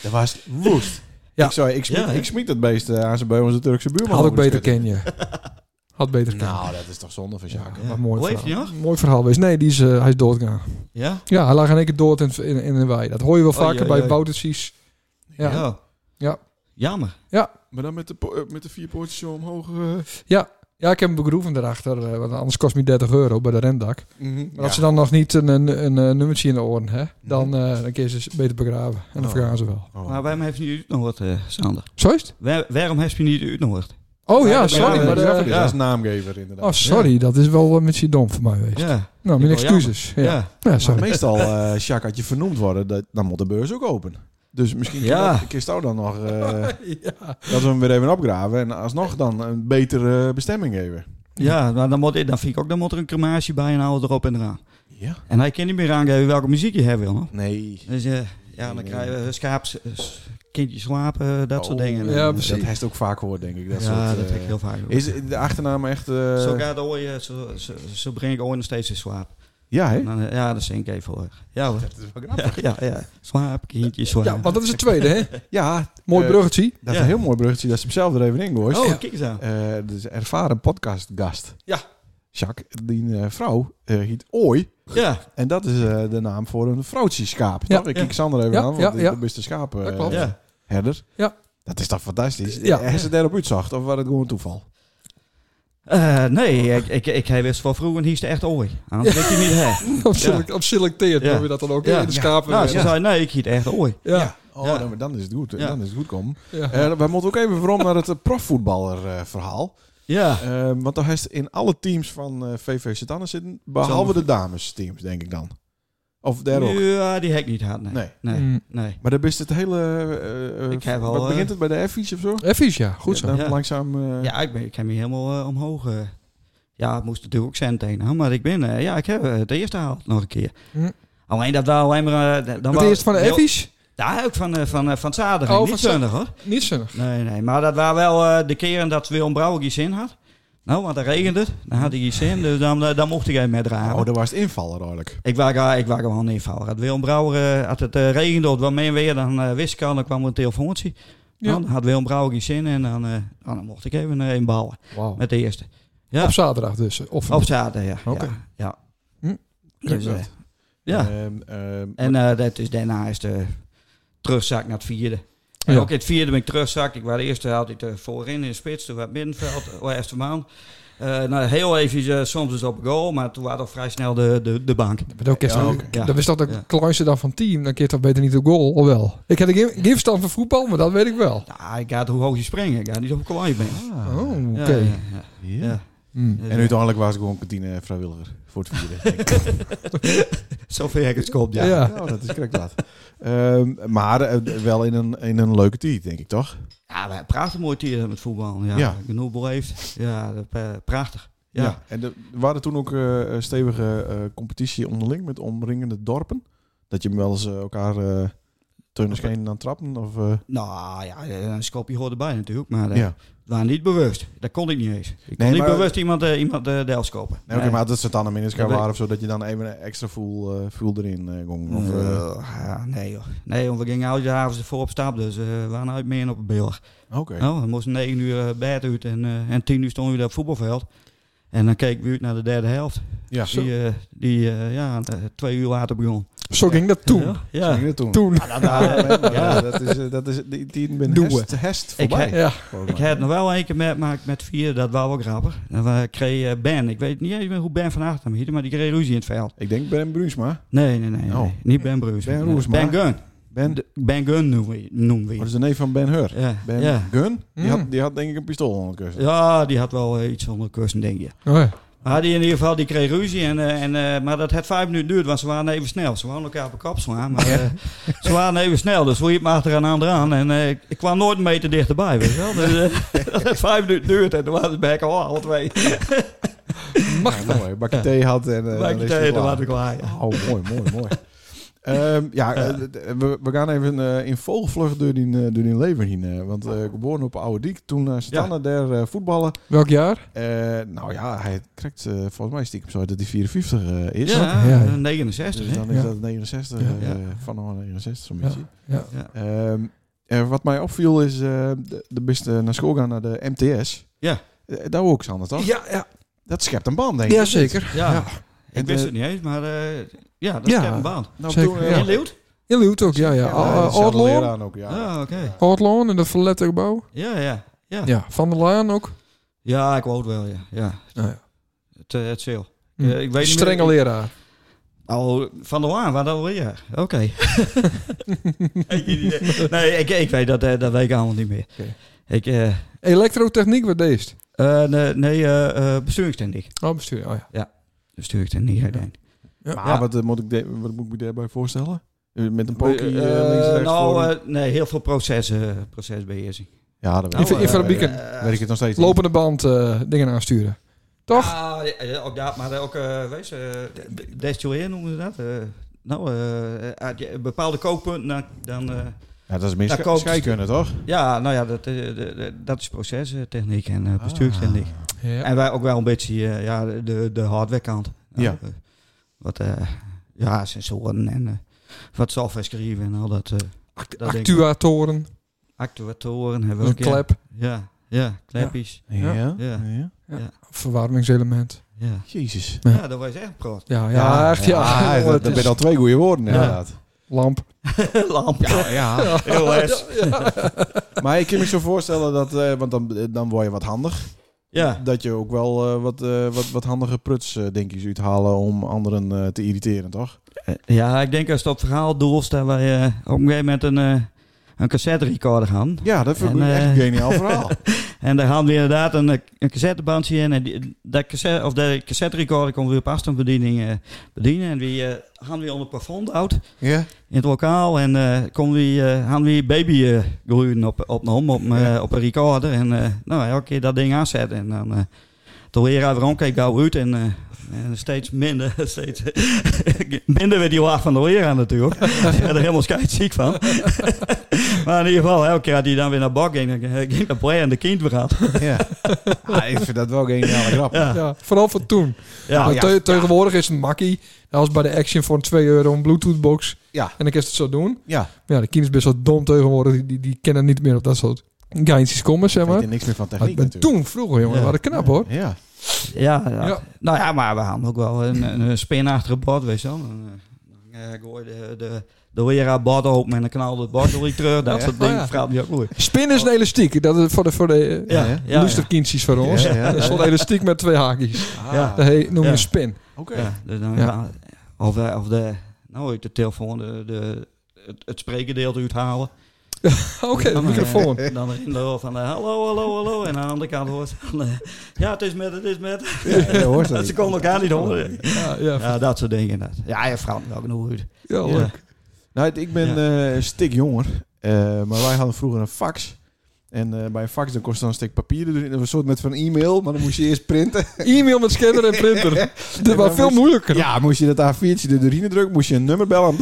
A: dat was woest.
B: Ja.
A: Ik zei, ik smiet,
H: Ja, hè?
A: ik smiet dat beest eh, aan zijn bij onze Turkse buurman.
B: had ik
A: over de
B: beter
A: schutter.
B: ken je. Had beter ken
A: Nou, dat is toch zonde van Jacques.
B: Ja, maar mooi
H: Leeft hij
B: verhaal.
H: nog?
B: Mooi verhaal geweest. Nee, die is, eh, hij is doodgegaan.
H: Ja?
B: Ja, hij lag in één keer dood in, in, in een wei. Dat hoor je wel
H: Oei,
B: vaker
H: oei,
B: bij
H: oei.
B: Boutersies. Ja. Ja.
H: Ja. Jammer.
A: Maar dan met de, po- eh, met de vier poortjes zo omhoog. eh.
B: ik heb hem begroeven daarachter, eh, want anders kost me 30 euro bij de rendak. Maar
A: Ja.
B: als ze dan nog niet een, een, een, eh, nummertje in de oren, hè, dan, eh dan kun je ze beter begraven. En dan
A: Oh.
B: vergaan ze wel.
A: Oh.
H: Maar waarom heeft hij niet uitnodigd, eh Sander?
B: Zo is het?
H: Waar- waarom heeft hij niet uitnodigd?
B: Oh ja,
A: Ja,
B: sorry.
A: ja,
B: maar,
A: dat
B: eh,
A: is- dat is naamgever inderdaad.
B: Oh, sorry, dat is wel een beetje dom voor mij geweest.
H: Ja.
B: Nou, mijn
H: Ik wil
B: excuses. Ja.
H: Ja.
B: Ja,
A: Maar
B: sorry.
A: meestal, eh Jacques, had je vernoemd worden, dat, dan moet de beurs ook open. Dus misschien
H: Ja.
A: ja. kist dan nog eh,
B: Ja.
A: dat we hem weer even opgraven en alsnog dan een betere bestemming geven.
H: Ja, maar dan, moet, dan vind ik ook, dan moet er een crematie bij en alles erop en eraan.
A: Ja.
H: En hij kan niet meer aangeven welke muziek je hebben wil. hoor.
A: Nee.
H: Dus eh, ja, dan krijgen we schaaps, eh, kindjes slapen, eh, dat soort
A: Oh,
H: dingen.
B: ja,
H: En, eh,
B: precies.
A: Dat heeft ook vaak gehoord, denk ik. Dat
H: Dat
A: soort,
H: ja, dat
A: eh,
H: heb ik heel vaak. gehoord.
A: Is de achternaam echt... eh,
H: zo, gaat de ooit, zo, zo, zo breng ik ooit nog steeds in slaap.
A: Ja, hè?
H: En dan, eh, ja, dat zing ik even hoor. Ja hoor.
A: Dat is wel grappig.
H: Ja, ja, ja. Slaap, kindjes, slaap.
B: ja, want dat is het tweede, hè?
A: Ja,
B: Mooi
A: eh,
B: bruggetje.
A: Dat is
H: Ja.
A: een heel mooi bruggetje dat ze hem zelf er even in gooit.
H: Oh,
B: Ja.
H: kijk eens aan.
A: Eh, dat is een ervaren podcastgast.
B: Ja.
A: Jacques, die eh, vrouw eh heet Ooi.
H: Ja,
A: En dat is eh, de naam voor een vrouwtjeschaap.
B: Ja,
A: toch? Ik
H: ja.
A: kijk Sander even
B: Ja,
A: aan, want
B: ja,
A: dit-
B: ja.
A: dat is de schaap. eh,
B: Dat klopt.
H: ja.
A: herder.
B: Ja.
A: Dat is toch fantastisch?
B: Ja.
A: Ja. Is het daarop uitzacht of was het gewoon toeval?
H: Eh, nee, ik, ik, ik hij wist van vroeger hier is het echt ooi. Anders weet je niet hè.
B: Op, select, op selecteert
H: Ja.
B: noem je dat dan ook
H: Ja.
B: in de schapen.
H: Nou,
B: Ja,
H: ze
B: ja.
H: zei nee, ik hiet echt ooi.
B: ja.
A: Oh,
H: Ja.
A: dan, dan is het goed.
H: Ja.
A: Dan is het goed komen. Eh, wij moeten ook even voorom naar het eh, profvoetballer eh, verhaal.
H: Ja.
A: Eh, want dan heeft in alle teams van eh, VV Sedanne zitten, behalve de damesteams, denk ik dan. Of daar ook.
H: Ja, die hek niet hard. Nee.
A: Nee.
H: Nee.
B: Mm.
H: nee.
A: Maar dan is het hele... eh, eh,
H: Ik heb al,
A: wat
H: eh,
A: begint het bij de F's of zo?
B: Effies, ja. Goed
A: Ja,
B: zo.
A: dan
H: Ja.
A: langzaam... eh,
H: Ja, ik, ben, ik heb me helemaal eh, omhoog. eh. ja, het moest natuurlijk ook cent heen. hè, Maar ik ben, eh, ja, ik heb eh, het eerste haalt nog een keer.
B: Hm.
H: Alleen dat daar alleen maar... eh, dan
B: Het
H: wou-
B: eerst van de
H: heel-
B: Effies?
H: Ja, ook van, eh, van, eh, van zaterdag.
B: Oh,
H: niet
B: van za-
H: zondag hoor.
B: Niet zinnig.
H: Nee, nee. Maar dat waren wel eh, de keren dat Willem Brouwer iets in had. Nou, want dan regende het. Dan had hij iets in. Dus dan, eh, dan mocht ik hem met draaien.
A: Oh, daar was het invaller eigenlijk.
H: Ik was, eh, ik was gewoon invallen. Had Willem Brouwer, eh, als het eh, regende of het wat meer weer, dan eh, wist ik al, dan kwam er een telefoontje. Nou,
B: Ja.
H: Dan had Willem Brouwer iets in en dan, eh, nou, dan mocht ik even eh, inballen
B: Wauw.
H: met de eerste. Ja.
B: Op zaterdag dus. Of
H: Op zaterdag, ja.
B: Oké.
H: Ja. ja.
B: Hm.
H: Dus, eh,
A: dat.
H: ja.
A: Ehm, ehm,
H: En eh, dat is daarna is de terugzak naar het vierde. En
B: Ja.
H: ook in het vierde ben ik terugzakt. Ik was eerst altijd eh, voorin in de spits, toen was het middenveld, oh, eerste man. Eh, nou, heel even eh, soms dus op goal, maar toen waren al vrij snel de, de, de bank.
B: Dat ook eerst
A: Ja,
B: dan-
A: oké.
H: Ja.
B: Dat is toch de
H: Ja.
B: kleinste dan van team. Dan keer toch beter niet op goal, of wel? Ik heb geen, geen verstand van voetbal, maar dat weet ik wel.
H: Nou, ik had hoe hoog je springen, ik had niet hoe kwaai je bent.
B: Oh, oké.
H: Ah. Ja, ja, ja.
A: ja.
H: Ja.
B: Hmm.
H: Dus,
A: En uiteindelijk was ik gewoon kantine vrijwilliger voor het vieren. denk ik.
H: (laughs) eh, Zover ik het kop, ja.
A: ja,
B: Ja.
A: Nou, dat is correct dat. Ehm, maar eh, wel in een, in een leuke tijd, denk ik toch?
H: Ja, we praten mooi hier met voetbal. Ja,
A: Ja.
H: Genoeg beleefd. Ja, dat, eh, prachtig.
A: Ja.
H: Ja.
A: En er waren toen ook eh, eh, stevige eh, competitie onderling met omringende dorpen. Dat je hem wel eens eh, elkaar eh teunen aan aan trappen of... eh,
H: Nou ja, een schopje hoort erbij natuurlijk, maar eh,
A: ja.
H: het waren niet bewust. Dat kon ik niet eens. Ik kon
A: Nee,
H: niet
A: maar-
H: bewust iemand, eh, iemand eh, de helft kopen.
A: Nee, oké, maar dat ze dan een
H: Dat
A: minisca
H: weet-
A: waren of zo, dat je dan even een extra voel, eh, voel erin eh gong. Of,
H: Of,
A: eh,
H: eh, ja, nee, joh. nee, want we gingen uit de avond ervoor op stap, dus eh, we waren uit meer op het beeld.
A: Oké.
H: Nou, we moesten 9 uur eh, bed uit en, eh, en 10 uur stonden we daar op het voetbalveld. En dan keken we uit naar de derde helft,
A: Ja, zo
H: die, eh, die eh, ja, eh, twee uur later begon.
B: Zo ging dat toen.
H: Ja, Ah,
A: ging het toen.
B: Toen.
A: Ja, dat- maar, eh, dat is, eh, dat is, die, die ben
B: Doen we.
A: hest, hest
H: Ik
A: voorbij.
H: he-
B: Ja.
A: volgens
H: Ik
A: mij.
H: heb nog wel één keer meegemaakt met vier, dat was wel grappig. En we kreeg eh, Ben, ik weet niet eens meer hoe Ben van Achterm heette, maar die kreeg ruzie in het veld.
A: Ik denk Ben Bruinsma.
H: Nee, nee, nee, nee.
A: Oh.
H: niet Ben Bruce.
A: Ben
H: Nee,
A: Roesma.
H: Ben Gun.
A: Ben,
H: De- Ben Gun noemen we- noemen we
A: wat
H: je.
A: is de neef van Ben Hur?
H: Ja,
A: Ben
H: ja.
A: Gun? Die,
B: Mm.
A: had, die had denk ik een pistool onder de kussen.
H: ja, die had wel eh, iets onder kussen, denk je.
B: Oh, ja.
H: Maar die in ieder geval, die kreeg ruzie. En, eh, en, eh, maar dat het vijf minuten duurde, want ze waren even snel. Ze waren elkaar op de kop slaan, maar eh, ze waren even snel. Dus hoe je het maar achteraan aan eraan. En eh, ik ik kwam nooit een meter dichterbij, weet je wel. Dus eh, (laughs) dat het vijf minuten duurde en toen waren ze bij elkaar oh, alle twee.
A: Ja, mooi. Bakje thee had en... eh,
H: Bij
A: dan
H: de
A: is hij
H: thee, toen
A: klaar.
H: waren we klaar. ja.
A: Oh, mooi, mooi, mooi. Ehm, ja, eh, d- d- we, we gaan even eh, in vogelvlucht door die, eh, door die leven heen. eh, want eh, geboren op Oude Diek, toen uh, Stanne daar eh, voetballen.
B: Welk jaar?
A: Eh, nou ja, hij krijgt eh, volgens mij stiekem zo dat hij 54 eh, is.
H: Ja,
B: Ja, ja.
H: 69.
A: Dus
H: hè?
A: dan is
B: Ja.
A: dat 69,
B: Ja.
A: eh,
H: Ja.
A: van de 69 zo'n beetje.
B: Ja.
A: Ehm, eh, wat mij opviel is, eh, de, de beste naar school gaan naar de MTS.
H: Ja.
A: Eh, daar ook, Sander, toch?
B: Ja, ja.
A: Dat schept een band, denk ik.
B: ja, zeker.
H: Ja.
B: Ja.
H: Ik
A: En, eh,
H: wist het niet eens, maar eh, ja, dat is
B: Ja.
H: Kevin Baan.
A: Nou,
B: Zeker,
A: toen, eh,
B: ja.
H: In Leeuwarden?
B: In Leeuwarden ook, ja, ja.
A: ja,
B: Ah, eh,
A: dezelfde
B: Oudloon.
A: leraar ook, ja.
H: Ja, Ah, oké.
B: Oudloon in dat verlette gebouw.
H: Ja, ja. Ja.
B: Ja. Van der Laan ook.
H: ja, ik woon wel, ja. ja.
B: Nou ja.
H: Het, eh, het zeel.
B: Hm.
H: Eh, ik weet niet
B: Strenge
H: meer-
B: leraar.
H: Oh, Van der Waan, waar dan weer? Oké. nee, ik, ik weet dat, eh, dat weet ik allemaal niet meer.
B: Oké.
H: Ik, eh
B: Elektrotechniek, wat deed?
H: eh, nee, nee eh eh besturingstechniek.
B: Oh, bestuur. Oh, ja.
H: Besturingstechniek, ik denk.
A: Maar
H: Ja.
A: wat, eh, moet ik de- wat moet ik me daarbij voorstellen? Eh, Met een pokie eh,
H: Eh,
A: links en rechts
H: nou,
A: voor-
H: eh, nee, heel veel processen, procesbeheersing. eh,
A: ja, dat
B: in-
A: weet ik.
B: in
A: Ja,
B: Verbieken.
A: weet- Weet ik het nog steeds niet.
B: Lopende band eh, dingen aansturen. Toch?
H: Ah, ja, ja, ook dat, maar ook, eh weet je, eh, destrueren noemen ze dat. eh. nou, eh, uit je- bepaalde kookpunten, dan, dan eh,
A: Ja, dat is meer
H: Daar
A: sche-
H: koopt-
A: scheikunde, toch?
H: ja, nou ja, dat, eh, de- de- dat is procestechniek en eh, besturingstechniek.
B: Ja.
H: En wij ook wel een beetje eh, ja, de, de hardware kant. Nou,
A: Ja.
H: eh, wat eh, ja, sensoren en eh, wat software schrijven en al dat. eh
B: Act-
H: dat denk ik.
B: actuatoren.
H: actuatoren hebben we
B: Een
H: ook. ja.
B: klep.
H: Ja, ja, klepjes.
A: Ja. ja.
H: Ja.
B: Verwarmingselement.
H: Ja.
A: Jezus.
H: Ja. dat was echt pro.
B: Ja, ja, echt ja.
A: Ah,
B: (laughs) Jongen,
A: dat
B: het
A: dat
B: is-
A: zijn al twee goede woorden,
H: Ja.
A: inderdaad.
B: (laughs) Lamp.
H: Lamp. Ja,
A: Ja.
H: heel les.
A: Maar ik kan me zo voorstellen dat, eh, want dan, dan word je wat handig.
H: Ja.
A: Dat je ook wel eh, wat, eh, wat, wat handige pruts, eh, denk ik, uit halen om anderen eh, te irriteren, toch?
H: Eh, ja, ik denk als dat verhaal doelst, dat wij eh, op een gegeven moment een, eh, een cassette recorder gaan.
A: Ja, dat vind ik
H: En,
A: echt
H: eh,
A: een geniaal
H: (laughs)
A: verhaal.
H: En daar hadden we inderdaad een, eh, een cassettebandje in. En die, dat cassette, of de cassette recorder kon we op afstandsbediening eh, bedienen. En die eh hadden we onder het plafond oud
A: ja.
H: in het lokaal. En eh kon we, eh hadden we baby eh groeien op, op, om op, eh, op een recorder. En eh nou, elke keer dat ding aanzetten. En dan eh de leraar weer omkeek gauw uit. En, eh, en steeds minder, (laughs) steeds minder werd die laag van de leraar natuurlijk. Ik werd er helemaal scheidsziek van. (laughs) maar in ieder geval, elke keer had hij dan weer naar bak ging, dan ging naar play en de kind weer had.
A: (laughs) ja. Ah, ik vind dat wel een geniale grap.
B: (laughs)
H: Ja.
B: Ja, vooral voor toen.
H: Oh, Ja,
B: Want te- tegenwoordig is het makkie. Dat was bij de Action voor een 2 euro een Bluetooth box.
A: Ja.
B: En dan kun je het zo doen.
A: Ja,
B: Maar ja, de kinderen is best wel dom tegenwoordig. Die, die, die kennen niet meer op dat soort geintjes komen, zeg
A: ik weet
B: maar.
A: er niks meer van techniek
B: Maar
A: natuurlijk.
B: toen vroeger, jongen,
H: Ja.
B: waren knap hoor.
A: Ja.
H: Ja, ja.
B: Ja.
H: nou ja, maar we hadden ook wel een, een, een spin achter het bord, weet je wel. Dan, eh, dan, eh, gooi de, de, de leraar bord open en dan knalde het bord weer terug. Dat
A: Ja.
H: (laughs) soort dingen
B: Oh ja.
H: verhaalt me ook mooi.
B: Spinnen is een elastiek. Dat is voor de, voor de ja.
H: Ja,
A: Ja,
H: ja,
B: ja,
H: ja,
B: van ons.
A: Ja, ja.
B: Dat is wel een elastiek met twee haakjes.
A: ja.
B: Dat heet, noem je
H: Ja.
B: spin.
A: Ah,
B: (laughs)
A: Oké.
H: Ja, dus dan
B: Ja.
H: gaan- Of, eh, of de, nou hoe heet de telefoon, de, de, het, het sprekendeel eruit halen.
B: Oké, de
H: Dan, eh,
B: microfoon.
H: (laughs) Dan erin lopen van eh, hallo, hallo, hallo. En aan de andere kant hoort van, eh, ja, het is met, het is met.
A: Ja, je
H: (laughs)
A: hoort dat.
H: Ze konden elkaar niet horen.
B: Ja, Ah, ja, ja,
H: Ja, dat soort dingen inderdaad. Ja, je verhaalt me ook nog uit.
B: leuk.
H: Ja.
A: Nou, het- ik ben eh een stik jonger. eh, maar wij hadden vroeger een fax. En eh, bij een fax dan kostte dan een stuk papier. Dus een soort met van e-mail. Maar dan moest je eerst printen.
B: E-mail met scanner en printer. Dat was
A: dan
B: veel
A: moest-
B: moeilijker.
A: Ja, moest je dat A4'tje er doorheen drukken. Moest je een nummer bellen.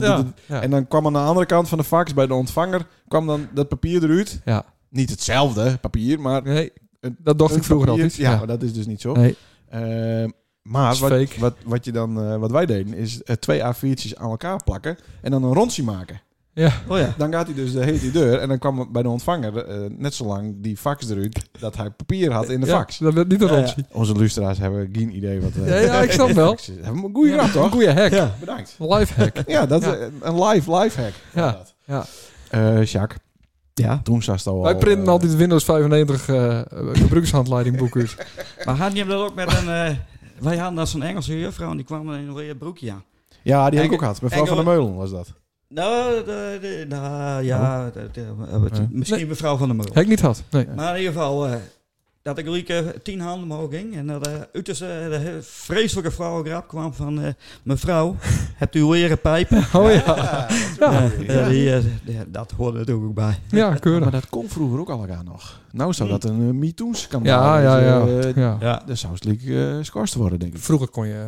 B: Ja. Ja.
A: En dan kwam aan de andere kant van de fax bij de ontvanger. kwam dan dat papier eruit.
B: Ja.
A: Niet hetzelfde papier, maar.
B: Nee,
A: Een-
B: dat dacht ik
A: een
B: vroeger
A: papier-
B: altijd.
A: Ja, maar dat is dus niet zo.
B: Nee.
A: Eh, maar
B: Is
A: wat,
B: fake.
A: wat, wat, je dan, eh, wat wij deden, is eh, twee A4'tjes aan elkaar plakken en dan een rondje maken.
B: Ja.
H: Oh ja.
A: Dan gaat hij dus de hele die deur en dan kwam bij de ontvanger eh, net zo lang die fax eruit dat hij papier had in de
B: Ja,
A: fax.
B: Dat werd niet een
H: Ja, ja.
B: rondje.
A: Onze luisteraars hebben geen idee wat... eh,
B: Ja, ja, ik snap
A: (laughs)
B: wel.
A: fax is. Hebben we een goede grap, toch?
B: Goeie hack.
H: Ja.
A: Bedankt.
B: Lifehack.
A: Ja, dat is
B: Ja.
A: een- een live lifehack.
B: Ja,
A: inderdaad.
B: ja.
A: Eh, Jacques,
H: Ja.
A: toen zat al...
B: Wij printen
A: eh,
B: altijd Windows 95 eh gebruikshandleiding boek uit.
H: Maar had je hem dat ook met een... eh, wij hadden dat zo'n Engelse juffrouw en die kwam met een rode broekje aan.
A: Ja, die heb ik ook
H: Engel-
A: gehad. Mevrouw van der Meulen was dat.
H: Nou, de- de- nou, ja,
B: Oh.
H: de- de- eh, het-
A: Nee.
H: misschien mevrouw van der Mul.
B: Heb ik niet had. Nee.
H: Maar in ieder geval, eh, dat ik drie keer tien handen omhoog ging. En dat eh uiterst, eh, de he- vreselijke vrouwengrap kwam van... eh, mevrouw, (laughs) hebt u weer een pijp?
B: Oh ja. Ja,
H: Eh, eh, die, eh, die- dat hoorde er ook bij.
B: ja
A: Maar
B: keurig.
A: dat kon vroeger ook al elkaar nog. Nou zou dat een uh, MeToo-schandaal
B: Hm. Ja, ja, ja.
A: eh,
B: ja.
H: Ja.
A: Dat Dus, zou slik eh schorst worden, denk ik.
B: Vroeger kon je...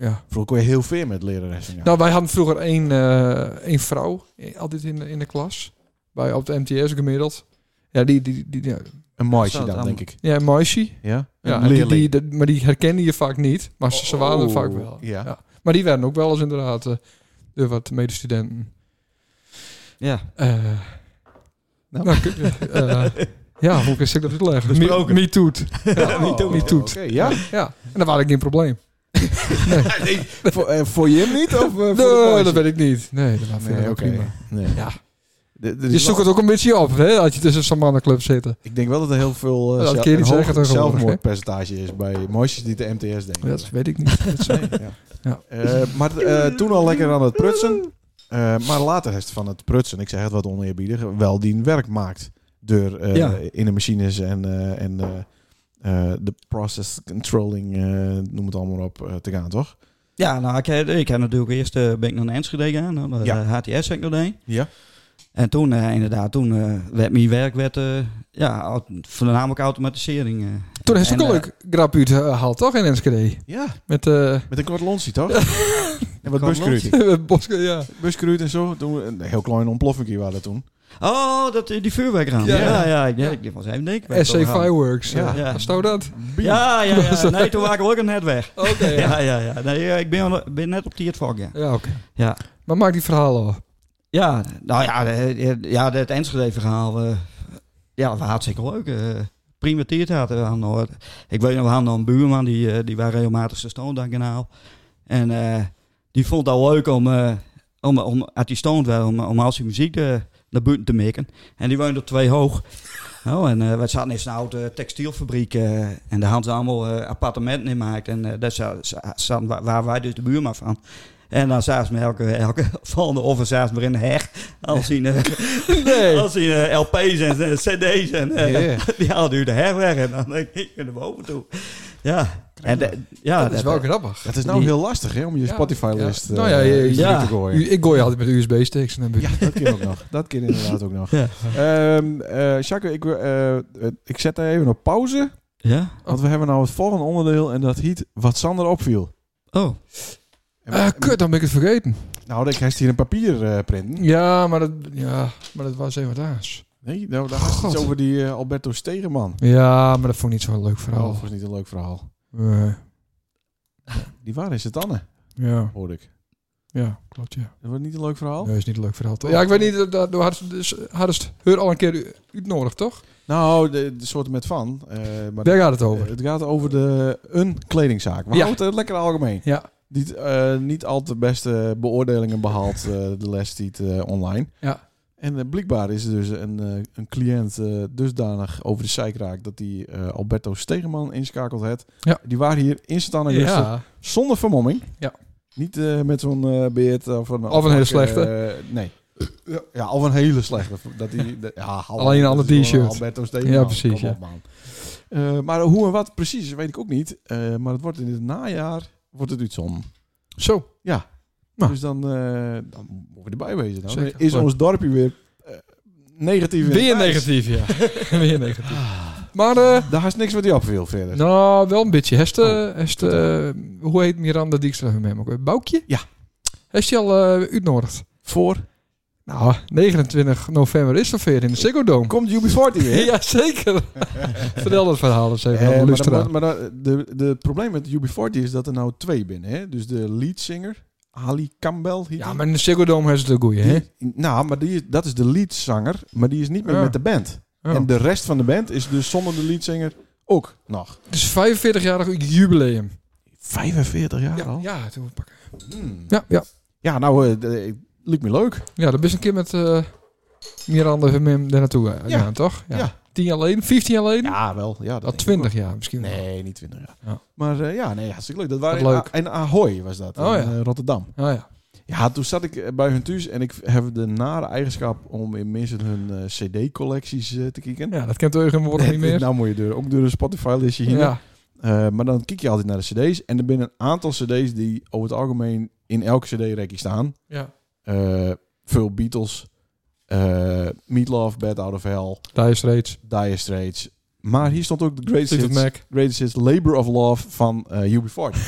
B: Ja.
A: Vroeger kon je heel veel met leraressen. Ja.
B: Nou, wij hadden vroeger één, eh, één vrouw eh, altijd in, de- in de klas. Bij, op de MTS gemiddeld. Ja, die, die, die, die- ja,
A: een mooisje
H: Zou het
A: dan,
H: allemaal-
A: denk ik.
B: ja, een meisje.
A: Ja, een
B: Ja, en die,
A: leerling.
B: die, dat- maar die herkende je vaak niet. Maar ze, ze waren er
A: Oh,
B: vaak wel.
A: ja.
B: Maar die werden ook wel eens inderdaad eh, door wat medestudenten.
H: Ja.
B: Eh, nou, kun- eh, ja, hoe kan ik dat uitleggen? Me,
H: Besproken.
B: me toet.
A: (laughs) Ja,
B: niet doet. Niet doet.
A: Oké, ja.
B: Ja, en dan waren ik geen probleem.
A: (laughs) voor, eh, voor je hem niet? Of, eh, voor de
B: Nee,
A: boys?
B: dat weet ik niet. Nee, dat was
A: Nee, oké. Dus
B: nee, prima.
A: Nee.
B: Ja.
A: De- de-
B: Je zoekt het ook een beetje op, hè, als je tussen zo'n mannenclub zit.
A: Ik denk wel dat er heel veel eh,
B: Dat
A: zel-
B: kun je niet
A: hoog
B: zeggen tegenwoordig,
A: zelfmoordpercentage is bij mooisjes die de MTS denken.
B: Dat weet ik niet. Dat zou-
A: Nee, ja.
B: Ja.
A: Eh, maar eh, toen al lekker aan het prutsen. Eh, maar later is het van het prutsen, ik zeg het wat oneerbiedig, wel die een werk maakt. Door eh,
B: Ja.
A: in de machines en, eh, en eh, eh, de process controlling, eh, noem het allemaal op, eh, te gaan, toch?
H: (laughs) Ja, nou, ik, heb- ik heb natuurlijk eerst eh, ben ik naar Enschede gegaan. Dan, eh,
A: Ja.
H: HTS heb ik nog een.
A: Ja.
H: En toen, eh, inderdaad, toen eh, werd mijn werk werd, eh, ja, au- voornamelijk automatisering. eh.
B: Toen heeft ze
H: En,
B: ook al een grap uit eh, gehaald, toch, in Enschede?
A: Ja,
B: Met eh (laughs)
A: met een kort lonsie, toch? en wat
H: Kort
A: buskruut.
H: lonsie.
B: Boske, ja.
A: Buskruut en zo. Toen, een heel klein ontploffingje waren dat toen.
H: Oh, dat, die vuurwerkraam.
B: Ja.
H: Ja, ja, ja. Ik, ja, ik was even denken.
B: SC Fireworks.
A: Ja.
B: Ja.
H: Ja.
B: Stou dat?
H: Ja, ja,
B: (laughs)
H: ja. Nee, toen waren we ook een net weg.
B: Oké. (laughs) ja.
H: Ja, ja, ja. Nee, eh, ik ben, al- ben net op die het vak, ja.
B: Ja, oké.
H: Ja.
B: Maar maak die verhalen al.
H: Ja, nou ja, eh, eh, ja het Enschede-verhaal. eh, ja, dat was hartstikke leuk. eh prima tiert hadden we aan de orde. Ik weet nog, we hadden een buurman, die, eh, die was regelmatig zijn stoondankanaal. En eh, die vond het al leuk om, eh, om, om uit die stoont wel, om, om als die muziek eh, naar buiten te mikken. En die woonde op twee hoog. Oh, en eh we zaten in een oude textielfabriek eh, en daar hadden ze allemaal eh, appartementen in gemaakt. En eh, daar za- za- zaten, wa- waren wij dus de buurman van. En dan zaten ze me elke, elke (laughs) volgende offer zaten ze me in een heg. Als in, eh,
B: Nee.
H: als in eh, LP's en eh, CD's. En, eh,
B: Ja.
H: (laughs) Die haalden u de heg weg en dan denk ik, ik ben er boven toe. Ja, en, de- ja
B: Dat is wel grappig.
A: Het is nou heel lastig hè, om je
B: Ja.
A: Spotify-list
B: Ja.
A: eh,
B: Nou ja, je-
A: iets
H: ja.
A: erin te gooien.
B: U- Ik gooi altijd met USB-sticks. en dan-
A: Ja, dat kan ook nog. Dat kan inderdaad ook nog.
H: Ja.
A: Ehm, eh, Jacques, ik, wil, eh, eh, ik zet daar even op pauze.
H: Ja?
A: Want we hebben nou het volgende onderdeel en dat heet wat Sander opviel.
H: Oh.
B: (laughs)
A: En-
B: Ah, kut, dan ben ik het vergeten.
A: Nou, ik heb hier een papier eh printen.
B: Ja, maar dat, ja, maar dat was even wat aas.
A: Nee, nou, daar gaat
B: God.
A: het over die eh, Alberto Stegeman.
B: Ja, maar dat vond ik niet zo'n leuk
A: Oh,
B: verhaal.
A: dat was niet een leuk verhaal.
B: Nee.
A: Die waren in Anne,
B: ja,
A: hoorde ik.
B: ja, klopt, ja.
A: Dat was niet een leuk verhaal.
B: Nee, is niet een leuk verhaal. toch? Oh. Ja, ik weet niet, dat- dat- daar hadden ze dus- hadden ze het haar al een keer u- uitnodigd, toch?
A: Nou, de, de soorten met van. eh, maar
B: Daar gaat het
A: eh,
B: over.
A: het gaat over de, een kledingzaak. We
B: Ja.
A: houden het lekker algemeen.
B: Ja,
A: Niet, eh, niet al te beste beoordelingen behaald, eh, de les die het eh, online.
B: Ja.
A: En eh, blijkbaar is er dus een, eh, een cliënt eh, dusdanig over de zeik raakt dat hij eh, Alberto Stegeman inschakeld had.
B: Ja.
A: Die waren hier instant aan rustig,
B: ja.
A: zonder vermomming.
B: Ja.
A: Niet eh, met zo'n eh, beert of een...
B: Of een hele slechte.
A: eh, nee. Ja, of een hele slechte. Dat die, de- ja, hallo,
B: Alleen een
A: dat
B: ander
A: is gewoon
B: t-shirt.
A: Alberto Stegeman.
B: Ja, precies,
A: Kom
B: ja.
A: op, man. Eh, maar hoe en wat precies, weet ik ook niet. Eh, maar het wordt in het najaar wordt het uitzon.
B: Zo, Nou.
A: Dus dan, eh, dan moeten we erbij wezen. Dan
B: Zeker.
A: is ons dorpje weer eh, negatief. in
B: weer
A: het ijs.
B: negatief, ja. (laughs) Weer negatief. Maar, eh,
A: Daar is niks wat hij opviel verder.
B: nou, wel een beetje. Hest,
A: Oh,
B: eh, hest, eh, hoe heet Miranda Dijkstra hun hem ook weer? Boukje?
A: Ja.
B: Heeft hij al eh uitnodigd?
A: Voor
B: Nou, 29 november is er weer in de Ziggo Dome.
A: komt UB40
B: (laughs)
A: weer.
B: Ja,
A: (laughs)
B: zeker. Vertel dat verhaal eens even
A: Eh,
B: aan de
A: maar
B: luisteraar.
A: dan- maar dan- de, de het probleem met UB40 is dat er nou twee binnen. Hè? Dus de leadzanger, Ali Campbell. heet
B: Ja,
A: die.
B: maar in de Ziggo Dome hebben ze de goeie, hè?
A: Die- nou, maar die, is- dat is de leadzanger, maar die is niet meer
B: Ja.
A: met de band.
B: Oh.
A: En de rest van de band is dus zonder de leadzanger ook nog.
B: Het is 45-jarig jubileum.
A: 45 jaar
B: Ja,
A: al? Ja,
B: ja, toen pakken. Ja, ja.
A: nou, eh, de- eh, lukt me leuk.
B: ja dat is een keer met eh Miranda van Mim daar naartoe eh,
A: Ja.
B: gegaan, toch?
A: Ja.
B: 10 jaar geleden, 15 jaar geleden?
A: Ja, wel. Ja, dat
B: Al
A: denk ik
B: 20 jaar misschien. wel.
A: Nee, niet 20 jaar.
B: Ja.
A: Maar eh, ja, nee, hartstikke leuk. Dat waren
B: Wat leuk.
A: in A- in Ahoy was dat,
B: Oh,
A: in
B: ja.
A: eh, Rotterdam.
B: Ah, ja.
A: Ja, toen zat ik eh, bij hun thuis en ik heb de nare eigenschap om in minstens hun eh, cd-collecties eh, te kijken.
B: ja, dat kent Eugen
A: (laughs)
B: worden niet meer.
A: Nou moet je door, ook door een Spotify-listje nou hier.
B: Ja,
A: Eh, maar dan kijk je altijd naar de cd's. En er zijn een aantal cd's die over het algemeen in elk cd-rekje staan.
B: ja.
A: Eh, veel Beatles, eh Meat Love, Bad Out of Hell,
B: Thijs Reeds,
A: Dire Straits. Maar hier stond ook de Greatest
B: Steve
A: Hits
B: Mac.
A: Greatest Hits Labor of Love van eh
B: (laughs)
A: UB40.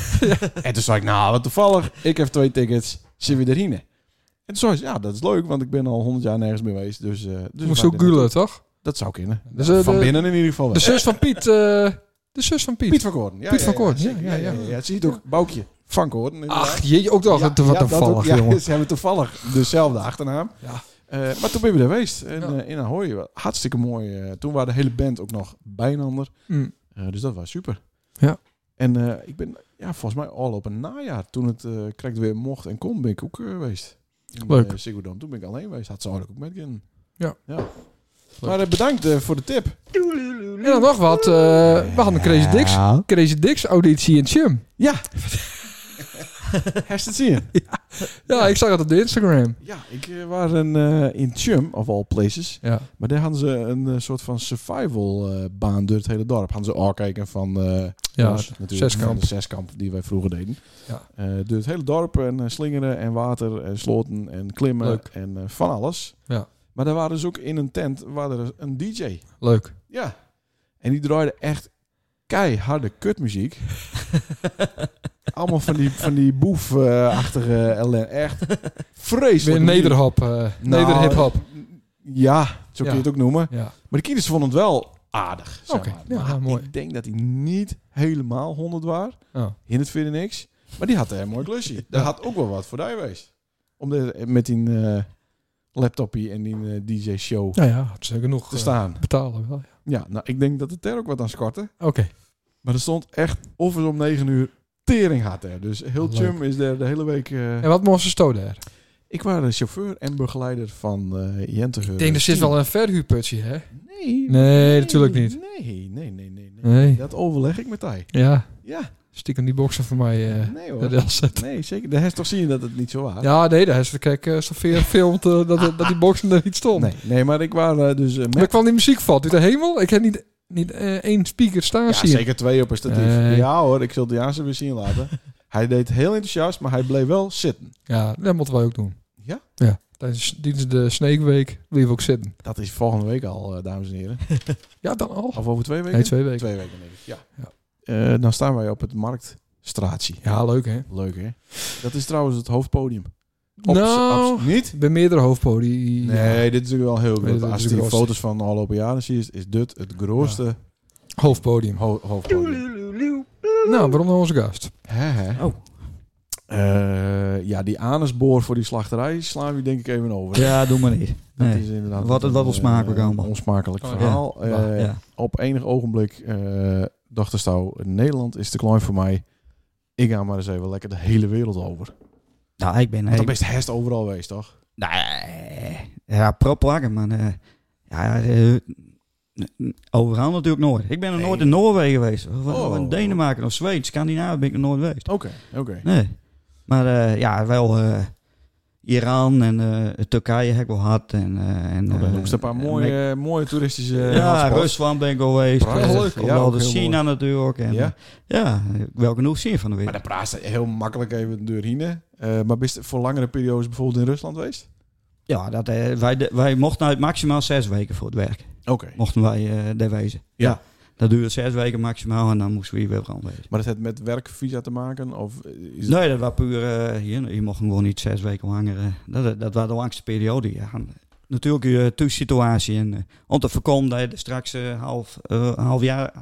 A: en toen zei ik, nou, wat toevallig. Ik heb twee tickets. Zit we erin? En toen zei ze, ja, dat is leuk, want ik ben al honderd jaar nergens meer geweest. Dus, eh dus
B: Moest
A: waar
B: ook
A: dit
B: gulen,
A: naartoe?
B: toch?
A: Dat zou kunnen.
B: Dus, eh,
A: van
B: de-
A: binnen in ieder geval wel.
B: De zus van Piet. eh, de zus van Piet.
A: Piet van Koorden. Ja,
B: Piet van Koorden,
A: zeker.
B: ja, ja, ja.
A: Het ziet ook, Boukje van Koorden. inderdaad.
B: Ach, jeetje, ook toch?
A: Ja,
B: wat wat
A: ja, dat
B: toevallig,
A: ook. Ja,
B: (laughs) jongen.
A: (laughs) Ze hebben toevallig dezelfde achternaam.
B: Ja.
A: Eh, maar toen ben je er geweest. En,
B: Ja.
A: eh, in Ahoy, hartstikke mooi. eh, toen waren de hele band ook nog bijnander.
B: Mm.
A: Eh, dus dat was super.
B: Ja.
A: En eh, ik ben, ja, volgens mij al op een najaar, toen het eh krijgt weer mocht en kon, ben ik ook eh, geweest. In,
B: Leuk.
A: eh, Ziggo Dome. toen ben ik alleen geweest. Had ze eigenlijk ook met kunnen.
B: Ja.
A: Maar eh, bedankt eh, voor de
B: (laughs)
A: tip.
B: En dan nog wat. eh, we hadden een Crazy Dix. Crazy Dix auditie in Chum.
A: Ja. Herst het zien.
B: Ja, ik zag het op de Instagram.
A: Ja, ik eh, was een, eh, in Chum, of all places.
B: Ja.
A: Maar daar hadden ze een eh, soort van survival eh, baan door het hele dorp. Hadden ze al kijken van, eh
B: Ja,
A: ons natuurlijk,
B: zeskamp.
A: van de zeskamp die wij vroeger deden.
B: Ja.
A: Eh, door het hele dorp en eh, slingeren en water en sloten en klimmen
B: Leuk.
A: en eh, van alles.
B: Ja.
A: Maar daar waren dus ook in een tent waren er een DJ.
B: Leuk.
A: Ja. En die draaide echt keiharde kutmuziek. Allemaal van die, van die boef-achtige ellende. Echt
B: Weer
A: vreselijk.
B: een
A: muziek.
B: nederhop. eh Nederhip-hop.
A: Ja, zo kun je
B: Ja.
A: het ook noemen.
B: Ja.
A: Maar de kinderen vonden het wel aardig. Zeg
B: Oké,
A: maar.
B: ja,
A: Maar
B: mooi.
A: Ik denk dat hij niet helemaal 100 was.
B: Oh.
A: In het verder niks. Maar die had een mooi klusje. Daar had ook wel wat voor die geweest. Om de, met die eh, laptopje en die eh, DJ-show
B: Nou ja, het is genoeg.
A: te
B: eh,
A: staan.
B: betalen wel. ja.
A: Ja, nou, ik denk dat het er ook wat aan skortte.
B: Oké.
A: Maar er stond echt of om 9 uur tering had er. Dus heel
B: Leuk.
A: chum is er de hele week... eh,
B: En wat moest ze stoden er?
A: ik was de chauffeur en begeleider van eh Jente.
B: Ik denk, er zit wel een verhuurputje, hè?
A: Nee,
B: Nee, natuurlijk niet.
A: Nee, nee, nee, nee. nee.
B: Nee.
A: Dat overleg ik met hij.
B: Ja.
A: Ja.
B: Stiekem die boksen voor mij. eh
A: Nee
B: naar
A: hoor.
B: de LZ.
A: Nee, zeker. De heeft toch zien dat het niet zo was.
B: Ja, nee, daar is kijk, eh Sofia filmt eh, dat, dat die boksen er niet stond.
A: Nee, nee, maar ik was eh, dus eh,
B: Maar er
A: met...
B: kwam die muziek valt uit de hemel. Ik heb niet, niet eh, één speaker staan
A: Ja,
B: zien.
A: zeker twee op een statief.
B: Nee.
A: Ja hoor, ik zal de Jaanse weer zien laten.
B: (laughs)
A: hij deed heel enthousiast, maar hij bleef wel zitten.
B: Ja, dat moeten wij ook doen.
A: Ja?
B: Ja. Tijdens tijdens de Snake Week bleef ik ook zitten.
A: Dat is volgende week al, eh, dames en heren.
B: Ja, dan al.
A: Of over twee weken?
B: Nee, twee weken.
A: Twee weken, denk ik. Ja.
B: Ja.
A: Eh, dan staan wij op het Marktstraatje.
B: Ja, leuk hè?
A: Leuk, hè? Dat is trouwens het hoofdpodium. Op-
B: nou,
A: op- niet?
B: bij meerdere hoofdpodium.
A: Nee, dit is natuurlijk wel heel
B: Nee,
A: groot.
B: dit is
A: Als je
B: het
A: die
B: grootste.
A: foto's van de afgelopen jaren ziet, is dit het grootste
B: Hoofdpodium.
A: ho- hoofdpodium.
B: Nou, waarom dan onze gast?
A: Hè, hè?
H: Oh.
A: Eh, ja, die anusboor voor die slachterij slaan we denk ik even over.
H: Ja, doe maar niet.
A: Dat
H: Nee.
A: is inderdaad
H: Wat-
A: een,
H: wat
A: eh,
H: onsmakelijk
A: een
H: allemaal.
A: Onsmakelijk
B: Oh, ja.
A: verhaal.
H: Ja,
A: Eh,
H: ja.
A: Op enig ogenblik eh dacht de Stouw, Nederland is te klein voor mij. Ik ga maar eens even lekker de hele wereld over. Want
H: Nou, ik ben...
A: dan
H: Ik,
A: best hest overal geweest, toch?
H: nee, ja, prop plakken, maar... eh, ja, eh, overal natuurlijk nooit. Ik ben nog nooit in Noorwegen geweest. Of, of
A: Oh.
H: in Denemarken of Zweden. Scandinavië ben ik nog nooit geweest.
A: Oké, oké.
H: Nee. Maar eh, ja, wel eh, Iran en eh, Turkije heb ik wel gehad. En, eh en,
A: Nou, dan
H: eh,
A: noem ze een paar
H: en
A: mooie,
H: Mex-
A: mooie toeristische... eh,
H: ja,
A: hotspots.
H: Rusland ben ik al geweest.
A: Prachtig.
H: Eh,
A: Leuk.
H: ook
A: Ja,
H: wel
A: ook
H: de
A: heel
H: China natuurlijk. En,
A: Ja?
H: ja? ja, wel genoeg zien van de
A: Maar
H: wereld.
A: dan praat ze heel makkelijk even de deur heen. hè. Eh, maar bist voor langere periodes bijvoorbeeld in Rusland geweest?
H: Ja, dat, eh, wij, de- wij mochten uit maximaal zes weken voor het werk.
A: Oké.
H: Mochten wij eh, daar wezen.
A: Ja.
H: Dat duurde zes weken maximaal en dan moesten we hier weer gaan wezen.
A: Maar dat heeft met werkvisa te maken? Of is het-
H: Nee, dat was puur... eh, hier, je mocht gewoon niet zes weken langer. eh, dat, dat was de langste periode. Ja. eh, Natuurlijk je thuissituatie. En, eh, om te voorkomen dat je er straks een half, eh, half jaar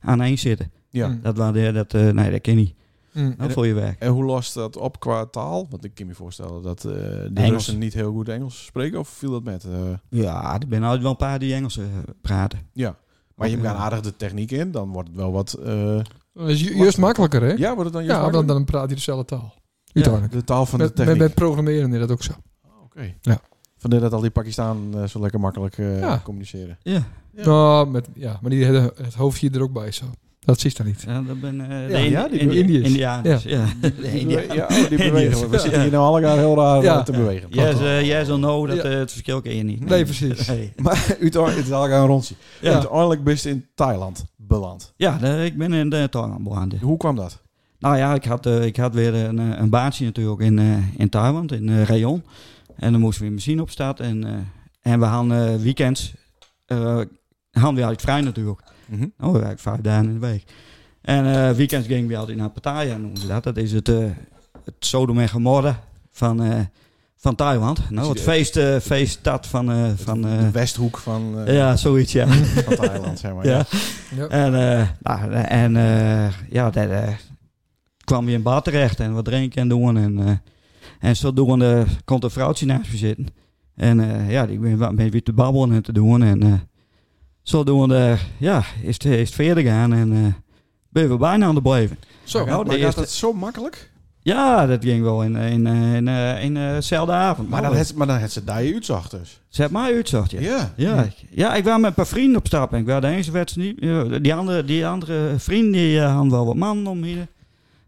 H: aan één zitten.
A: Ja.
B: Mm.
H: Dat, was de- dat, eh, nee, dat kan niet.
B: Mm.
H: Dat voor je werk.
A: En hoe lost dat op qua taal? Want ik kan me voorstellen dat eh, de
H: Engels.
A: Russen niet heel goed Engels spreken. Of viel dat met? eh?
H: Ja, er zijn altijd wel een paar die Engels eh, praten.
A: maar je
H: Oké.
A: gaat aardig de techniek in. Dan wordt het wel wat... eh,
B: Dat Nou, is ju- juist makkelijker hè?
A: ja, wordt het dan juist
B: Ja, dan,
A: makkelijk?
B: dan praat je dezelfde taal.
H: Ja,
B: Uiteindelijk.
A: de taal van de
B: Met, met,
A: techniek.
B: met programmeren is dat ook zo.
A: Oké.
B: Ja.
A: Vandaar dat al die Pakistan eh, zo lekker makkelijk eh,
B: Ja.
A: communiceren.
H: Ja,
A: Ja.
B: Nou, met, ja, maar die hele- het hoofdje er ook bij zo. Dat zie je dan niet.
H: ja dat ben eh,
A: Ja,
H: de
A: ja, die
H: Indi-
B: Indiërs.
H: Indianers. Ja. De Indiërs.
A: Ja, (laughs) oh, die bewegen. We
H: Ja.
A: zitten hier nou allemaal heel raar
B: Ja.
A: eh, te bewegen.
H: Yes, eh, yes or no, dat,
B: Ja.
H: eh, het verschil ken je niet.
B: Nee, precies.
H: Nee.
A: Maar (laughs) uiteindelijk, het is eigenlijk een rondje.
H: Ja.
A: Uiteindelijk ben je in Thailand beland.
H: Ja, de- ik ben in de Thailand beland.
A: Hoe kwam dat?
H: Nou ja, ik had, eh, ik had weer een, eh, een baantje natuurlijk in, eh, in Thailand, in eh Rayon. En dan moesten we in machine op staat. En, eh, en we hadden eh, weekends, eh hadden we altijd vrij natuurlijk.
A: Mhm.
H: Oh, we werken vijf dagen in de week. En eh, weekends gingen we altijd naar Pattaya, noemen ze dat. Dat is het, eh het Sodom en Gomorra van, eh, van Thailand. Nou, het feest, eh, feeststad van... eh, van eh,
A: de Westhoek van, eh,
H: ja, zoiets, ja.
A: van Thailand, zeg maar.
H: Ja.
A: Ja.
B: Ja.
H: En, eh, nou, en eh, ja, dat, eh, kwam je in bad terecht en wat drinken en doen. En, eh en zodoende komt een vrouwtje naast me zitten. En eh, ja, die ben, wat- ben weer te babbelen en te doen. En eh zodoende, ja, is het, is het verder gaan en eh, ben je weer bijna aan de blijven.
B: Zo.
H: Ja.
A: maar
H: de
A: gaat
H: eerste-
A: dat zo makkelijk?
H: Ja, dat ging wel in, in, eh, in, eh, in eh, dezelfde avond.
A: Maar dan, het, maar dan het ze daar je uitzag dus.
H: Zet mij uitzocht, ja.
A: Ja.
H: Ja, ik- ja, ik was met een paar vrienden op stap. En ik was de enige werd niet. eh, Die andere, die andere vriend die eh, had wel wat mannen om hier.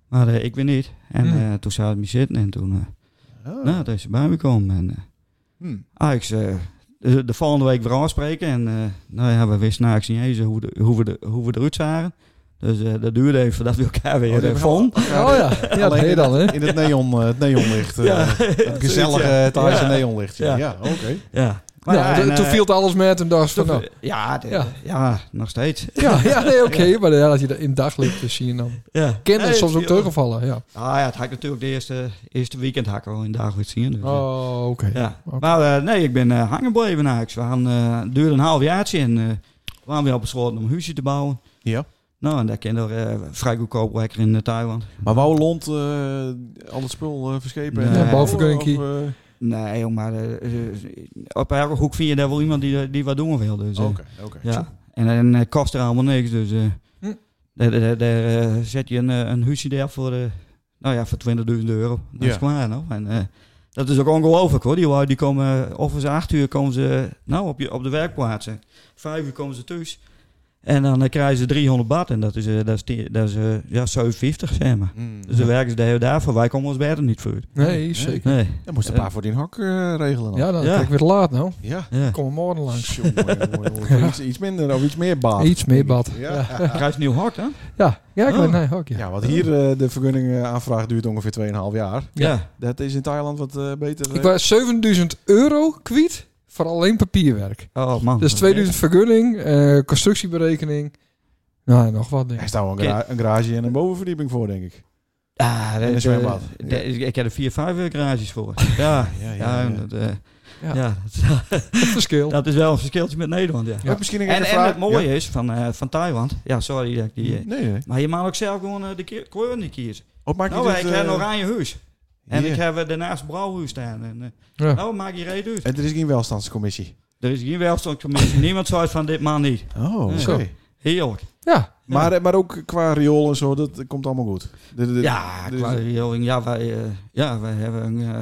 H: Maar eh, ik weer niet. En
B: Hmm.
H: eh, toen zou het me zitten en toen, eh
A: Oh.
H: nou, toen is ze bij me komen. En eh,
A: Hm.
H: Ajax, eh, de, de volgende week weer aanspreken. En eh, nou ja, we wisten eigenlijk niet eens hoe, de, hoe, we de, hoe we eruit zagen. Dus eh, dat duurde even voordat we elkaar
A: Oh,
H: weer
A: die
H: eh, vonden.
A: hebben elkaar-
B: Oh
H: (laughs)
B: ja, ja dat
A: Alleen
B: heet dan hè.
A: In het neon, eh, het neonlicht. eh, Het gezellige
H: ja.
A: Thaise
H: Ja.
A: neonlicht. Ja,
H: Ja.
A: ja oké.
H: (laughs) Ja. Maar
B: Nou,
H: ja, en,
B: toen- toen
H: eh,
B: viel het alles met en dacht van,
H: toen- (laughs)
B: nou,
H: ja, de-
B: Ja.
H: ja. nog steeds.
B: ja, ja, nee, oké, maar ja, dat je dat in het daglicht dus zie je dan.
H: Ja.
B: Kinderen
H: Nee,
B: soms ook
H: het viel-
B: teruggevallen, ja.
H: Ah ja, het had ik natuurlijk de eerste, eerste weekend had ik al in dagen weer zien. Dus, eh,
B: Oh, oké.
H: ja.
B: oké.
H: Maar eh, nee, ik ben eh hangen blijven naar Ajax. We hadden, eh, het duurde een half jaartje en eh we hadden al besloten om een huisje te bouwen.
A: Ja.
H: Nou, en daar kan er eh, vrij goedkoop lekker in eh, Thailand.
A: Maar wou Lond eh, al het spul eh, verschepen?
H: Nee. Ja,
B: bouwvergunning.
A: Of, eh,
H: Nee, joh, maar eh, eh, op elke hoek vind je daar wel iemand die, die wat doen wil. Dus, eh,
A: Oké, oké.
H: ja. En dan eh, kost er allemaal niks. Dus eh,
B: Hm.
H: daar, daar- daar, eh, zet je een, eh, een huisje daar voor, eh, nou ja, voor 20.000 euro. Dat
A: Ja.
H: is klaar. Nou. En, eh, dat is ook ongelooflijk hoor. Die lui die komen eh, of ze acht uur komen ze nou, op, je, op de werkplaats. en Vijf uur komen ze thuis. En dan eh, krijgen ze 300 baht en dat is, eh, dat is, die- dat is eh, ja, 750, zeg maar.
A: Hmm.
H: Dus dan werken ze daar- daarvoor. Wij komen ons bed niet voor.
B: Nee, zeker.
H: Nee.
A: Dan moest een paar voor die hok eh, regelen. Dan.
B: Ja, dan
H: Ja.
B: kijk ik weer te laat nou.
A: ja.
H: Ja.
B: Kom er morgen langs.
A: Jongen, jongen, jongen. Iets, iets minder of iets meer baat.
B: Iets meer bad.
A: Ja.
H: Krijg je nieuw hart, hè?
B: Ja, ja ik
H: Oh.
B: weet nee, ook ja.
A: ja, want hier eh, de vergunningaanvraag duurt ongeveer 2,5 jaar.
B: Ja.
A: Dat is in Thailand wat eh, beter. eh,
B: Ik was 7000 euro kwijt voor alleen papierwerk.
H: Oh, man.
B: Dus 2000 vergunning, eh, constructieberekening. Nou, nog wat
A: Er
B: dingen.
A: staat wel een, gra- een garage en een bovenverdieping voor, denk ik.
H: Ah, dat
A: een
H: is,
A: zwembad.
H: eh, dat is- Ik heb er vier, vijf eh,
A: (laughs)
H: garages voor. Ja,
A: ja,
H: ja,
A: ja.
H: dat, eh,
B: Ja.
H: ja. dat-
B: Verschil.
H: dat is wel een verschiltje met Nederland, ja.
B: Ja.
A: Ook Misschien een
H: En, en
A: vraag.
H: het mooie
A: Ja.
H: is van, eh, van Thailand... Ja, sorry dat ik die... eh,
A: Nee, nee.
H: Maar je mag ook zelf gewoon eh, de ke- kleur niet kiezen.
A: Wat maakt
H: Nou,
A: niet
H: ik
A: uit,
H: heb een
A: eh,
H: oranje huis. En
A: hier.
H: ik heb eh, daarnaast brouwhuis staan. En, eh,
B: Ja.
H: Nou, maak je reet uit.
A: En er is geen welstandscommissie.
H: Er is geen welstandscommissie. Niemand zei van dit man niet.
A: Oh,
H: oké.
A: zo.
H: Heerlijk.
B: Ja,
A: Maar, eh, maar ook qua riool en zo, dat komt allemaal goed. De- de-
H: Ja,
A: de-
H: qua rioling, ja, wij, eh, ja, wij hebben een, eh,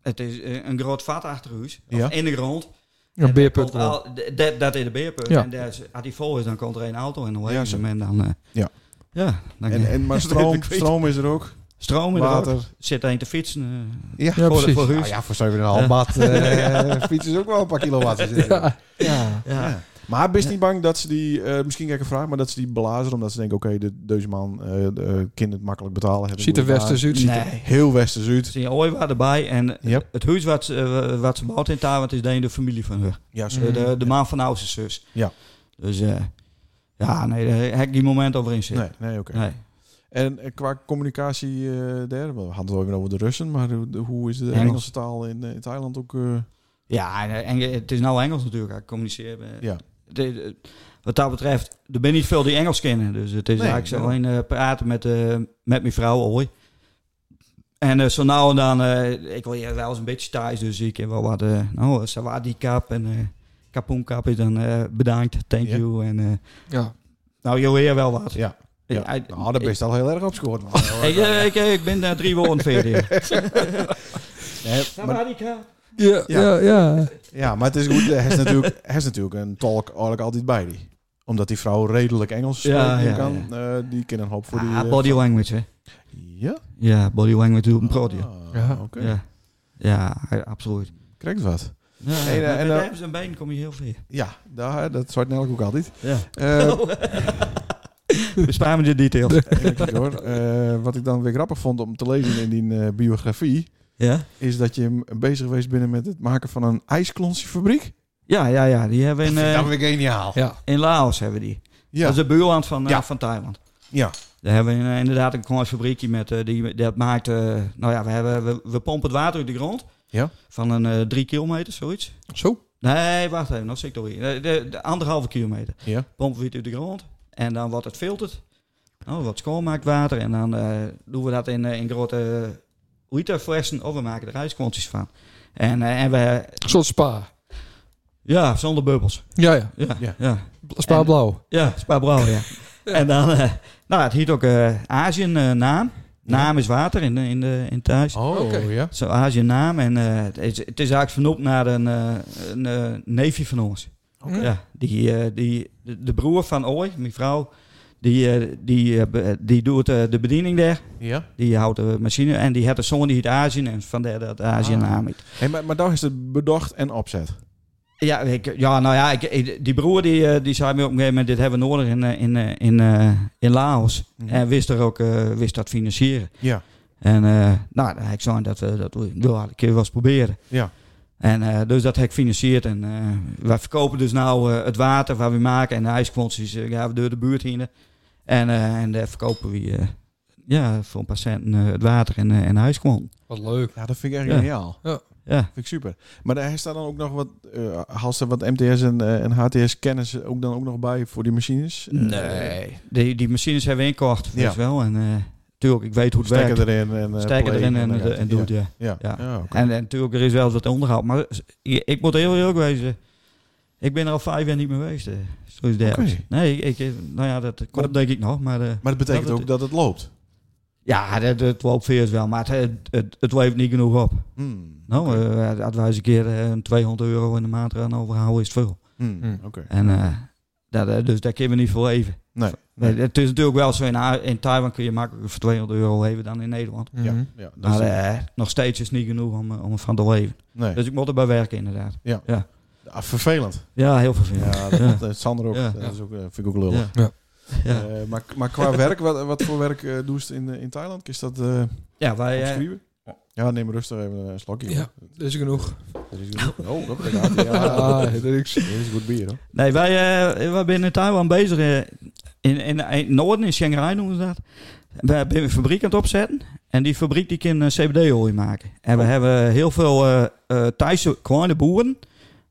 H: het is eh, een groot vat achter huis. Of
A: Ja.
H: In de grond.
B: een
H: En eh, dat
B: beerput.
H: komt al- d- Dat dat is de beerput.
B: Ja.
H: En daar is- als die vol is, dan komt er een auto en dan
A: Ja, zo.
H: ja, ze hem en dan... eh,
A: Ja.
H: Ja, dan
A: en, en,
H: (laughs)
A: maar stroom,
H: Ik weet-
A: stroom is er ook.
H: stroom in de
A: Water.
H: Zit er een te fietsen eh,
A: Ja,
B: Ja,
H: voor,
B: precies.
H: voor
A: Nou
H: huis.
A: ja, voor 7,5 bad
H: (laughs)
A: eh (laughs) fietsen is ook wel een paar kilowatt.
B: Ja.
A: Ja.
H: Ja.
A: Ja. Maar ben je niet bang dat ze die, eh, misschien kijk een vraag, maar dat ze die blazen omdat ze denken, oké, de, deze man eh de- kind het makkelijk betalen. hebben.
B: Ziet er westers uit. ziet er-
H: Nee.
A: Heel westers
H: Er
A: uit.
H: zijn ooievaar erbij en
A: Yep.
H: het huis wat, ze- eh, wat ze bouwt in Taiwan is de, de familie van haar.
A: Ja,
H: Dus, eh, de, de man van haar oudste zus.
A: Ja.
H: Dus eh, ja, nee, daar heb ik die moment over in zitten.
A: Nee, nee oké.
H: Nee.
A: En eh, qua communicatie eh daar, we hadden het al even over de Russen, maar hoe, hoe is de
H: Engels.
A: Engelse taal in, eh, in Thailand ook? eh,
H: Ja, en, eh, Eng- het is nou Engels natuurlijk. Ik communiceer. eh,
A: Ja.
H: de- de- wat dat betreft, er ben niet veel die Engels kennen. Dus het is
A: Nee,
H: eigenlijk
A: ja.
H: zo alleen eh, praten met, eh, met mijn vrouw, hoi. En eh, zo nou en dan, eh, ik wil je wel eens een beetje thuis, dus ik heb wel wat, eh nou, sawadee kap en eh kapoenkap is dan eh, bedankt, thank
A: Ja.
H: you. En eh,
B: Ja.
H: nou, je leert wel wat.
A: Ja. Ja.
H: Ik- ik-
A: nou, daar ben je al heel erg op gescoord. (laughs) man.
H: ik, eh, ik, ik ben daar drie
A: (laughs)
H: woorden verder.
A: Nee, maar-
H: Sawadee kap.
B: Ja, ja, ja.
A: Ja, maar het is goed. Hij is natuurlijk, hij is natuurlijk een tolk eigenlijk altijd bij die. Omdat die vrouw redelijk Engels spreken
H: Ja, ja,
A: kan. Eh, die kennen een hoop voor die...
H: Ah,
A: eh,
H: body language, hè.
A: Ja?
H: Ja, body language doet een protje.
A: Ah,
B: Ja.
A: Oké.
H: Ja. ja, ja, absoluut.
A: Krijgt wat. En, eh,
H: Ja, met-
A: en
H: met
A: dan-
H: arms en been kom je heel ver.
A: Ja, daar, dat zwart Nelk ook (laughs) altijd.
H: Ja.
A: Eh,
H: (laughs) Bespaar me de details.
A: even kijken hoor. Eh, wat ik dan weer grappig vond om te lezen in die eh, biografie...
H: Ja?
A: is dat je m- bezig geweest bent met het maken van een ijsklontjefabriek.
H: ja, ja, ja. Die hebben we in, eh,
A: weer geniaal.
B: Ja,
H: in Laos hebben we die.
A: Ja.
H: Dat is de buurland van, eh,
A: Ja.
H: van Thailand.
A: Ja.
H: Daar hebben we eh, inderdaad een klein fabriekje met, eh, die, dat maakt, eh, nou ja, we, hebben, we, we pompen het water uit de grond.
A: Ja.
H: Van een eh, drie kilometer, zoiets.
B: zo.
H: Nee, wacht even, nog zit ik er weer. Eh, De, de anderhalve kilometer.
A: Ja.
H: Pompen we het uit de grond en dan wordt het filterd. Nou, wat schoonmaakt water en dan eh, doen we dat in, eh, in grote literflessen of we maken er ijskontjes van. En, eh, en we,
B: Een soort spa.
H: ja, zonder bubbels.
B: Ja, ja.
H: Ja,
A: Ja.
H: ja. ja.
B: Spa
H: En-
B: blauw.
H: Spa Brouw,
A: (laughs)
H: ja. En dan, eh, nou, het heet ook eh Azië eh, naam. Naam is water in, in, de in thuis.
A: Oh,
B: Oké.
A: ja.
H: Zo Azië naam en eh, het, is, het is eigenlijk vernoemd naar een, eh, een eh, neefje van ons.
B: Oké.
H: Ja, die, eh, die, de, de broer van Ooi, mijn vrouw, die, eh, die, eh, be- die doet eh, de bediening daar.
A: ja.
H: Die houdt de machine en die had de zoon die het Azië en vandaar dat Azië
A: Ah.
H: naam heet.
A: Hey, maar, maar daar is het bedacht en opzet.
H: Ja, ik, ja, nou ja, ik, ik- die broer die, eh, die zei me op een gegeven moment, dit hebben we nodig in, eh, in, eh, in, eh, in Laos.
A: Mhm.
H: En wist er ook, eh, wist dat financieren.
A: Ja.
H: En eh, nou, ik zei dat we dat we wel een keer wel eens proberen.
A: Ja.
H: En eh, dus dat heb ik financierd. En eh wij verkopen dus nou eh, het water waar we maken en de ijskwontjes eh, gaan we door de buurt heen. En, eh, en daar verkopen we eh, ja, voor een paar centen eh, het water en, eh en de ijskwont.
B: Wat leuk.
A: Ja, dat vind ik echt
H: Ja.
A: geniaal.
H: Ja.
A: Vind ik super. Maar daar staat dan ook nog wat, eh haalt ze wat MTS en, eh, en HTS kennis ook dan ook nog bij voor die machines? Eh,
H: Die, die machines hebben we inkocht, weet
A: Ja.
H: je wel. En eh natuurlijk, ik weet hoe het werkt.
A: Steken erin en eh,
H: Steken
A: play
H: erin en,
A: dan
H: en,
A: gaat het.
H: doet, ja.
A: Ja. ja.
H: Ja.
A: Ja, oké.
H: En, en natuurlijk, er is wel wat onderhoud. Maar ik, ik moet heel eerlijk wezen. Ik ben er al vijf jaar niet meer geweest. eh, Zoiets dergelijks.
A: Oké.
H: Nee, ik, ik- nou ja, dat komt
A: dat-
H: denk ik nog. Maar eh,
A: Maar dat betekent
H: Dat het-
A: ook dat het loopt.
H: ja, dat, dat loopt veers wel. Maar het, het, het, het levert niet genoeg op.
A: Hmm.
H: Nou, eh als wij eens een keer eh, een 200 euro in de maand eraan overhouden, is het veel.
A: Hmm,
B: Hmm.
A: Oké.
H: En eh, Dat, eh, dus daar kunnen we niet voor even.
A: Nee.
H: Nee, het is natuurlijk wel zo, in, A- in Taiwan kun je makkelijker voor 200 euro even dan in Nederland.
A: Ja,
B: Mhm.
A: ja, dat
H: Maar
A: is-
H: eh, nog steeds is het niet genoeg om, eh, om van te leven.
A: nee.
H: Dus ik moet erbij werken inderdaad.
A: Ah, vervelend.
H: Ja, heel vervelend.
A: Ja, dat,
H: Ja.
A: dat- Sander ook.
H: Ja.
A: Dat is ook, eh, vind ik ook lullig.
B: Ja.
H: Ja.
A: Eh, maar, maar qua
B: (laughs)
H: (laughs)
A: werk, wat, wat voor werk eh doe je in, eh, in Thailand? Is dat eh
H: Ja, wij, eh,
A: omschreven? Ja, neem rustig even een slokje.
B: Ja. Dat is genoeg.
A: Dat is goed.
H: Nou.
A: Oh, dat ben ik
H: (laughs)
A: uit.
B: (laughs)
A: Ja,
B: Ah, dat is...
A: Dit is goed bier, hoor.
H: nee, wij, eh, wij zijn in Taiwan bezig. eh, in, in, in Noorden, in Shanghai noemen ze dat. We hebben een fabriek aan het opzetten. En die fabriek die kan eh, CBD-olie maken. En
A: Oh.
H: we hebben heel veel eh eh, Thaise kleine boeren.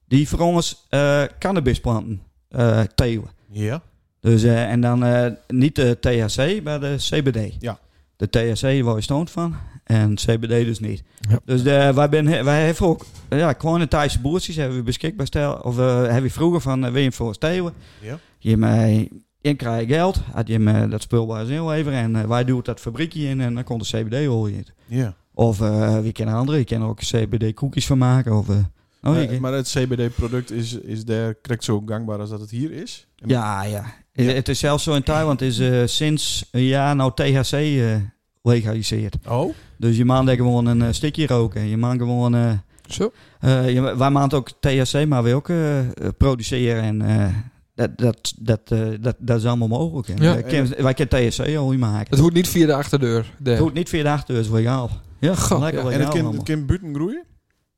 H: Die voor ons eh, cannabisplanten eh teelen.
A: Ja.
H: Dus, eh, en dan eh, niet de THC, maar de CBD.
A: Ja.
H: De THC waar je stoont van en CBD dus niet.
B: Ja.
H: Dus de, wij, ben, wij hebben ook ja, kleine Thaise boertjes hebben we beschikbaar stel Of eh hebben we vroeger van uh, William voor Steeuwen.
A: Ja.
H: Je mij in krijg je geld, had je me dat spul bij ons even en eh, wij doen dat fabriekje in en dan komt de CBD-olie in.
A: Ja.
H: Of eh, wie kennen andere, je kan er ook CBD-koekjes van maken. Of, eh, oh, je
A: Eh,
H: kan-
A: maar het CBD-product is, is daar correct zo gangbaar als dat het hier is? En-
H: Ja, ja. Eh, Het is zelfs zo in Taiwan, het is eh, sinds een jaar nou THC eh, legaliseerd.
A: Oh?
H: Dus je maand gewoon een eh, stikje roken. Je maand gewoon... eh,
B: Zo.
H: eh, je- wij maand ook THC, maar we ook eh, eh, produceren en... eh, dat, dat, dat, eh, dat, dat is allemaal mogelijk. En,
B: Ja.
H: eh, ken- wij kunnen THC al niet maken.
B: Het hoeft niet via de achterdeur.
H: Het
B: Daar.
H: hoort niet via de achterdeur, is legaal. Ja,
B: Goh,
H: lekker
B: ja.
H: legaal
A: En het kan,
H: allemaal.
A: het kan buiten groeien?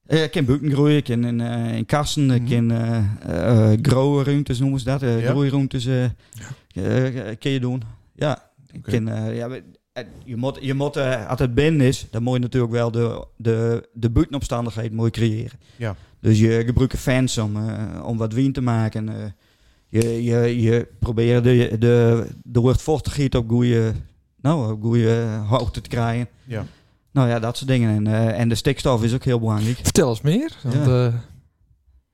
H: Eh, Ik kan buiten groeien, ik kan in, eh, in kassen, ik
A: Mhm.
H: kan eh eh, groeiruimtes noemen ze dat. eh
A: Ja.
H: Groeiruimtes eh, eh, eh, kun je doen. Ja, ik
A: Oké.
H: kan, eh, ja we- eh, je moet, je moet eh, als het binnen is, dan moet je natuurlijk wel de, de, de buitenomstandigheden moet je creëren.
A: Ja.
H: Dus je gebruikt fans om, eh, om wat wien te maken. eh. je, je, je probeert de, de, de luchtvochtigheid op goede, nou, op goede hoogte te krijgen.
A: Ja.
H: Nou ja, dat soort dingen. En, eh, en de stikstof is ook heel belangrijk.
B: Vertel eens meer. Want,
H: Ja.
B: eh,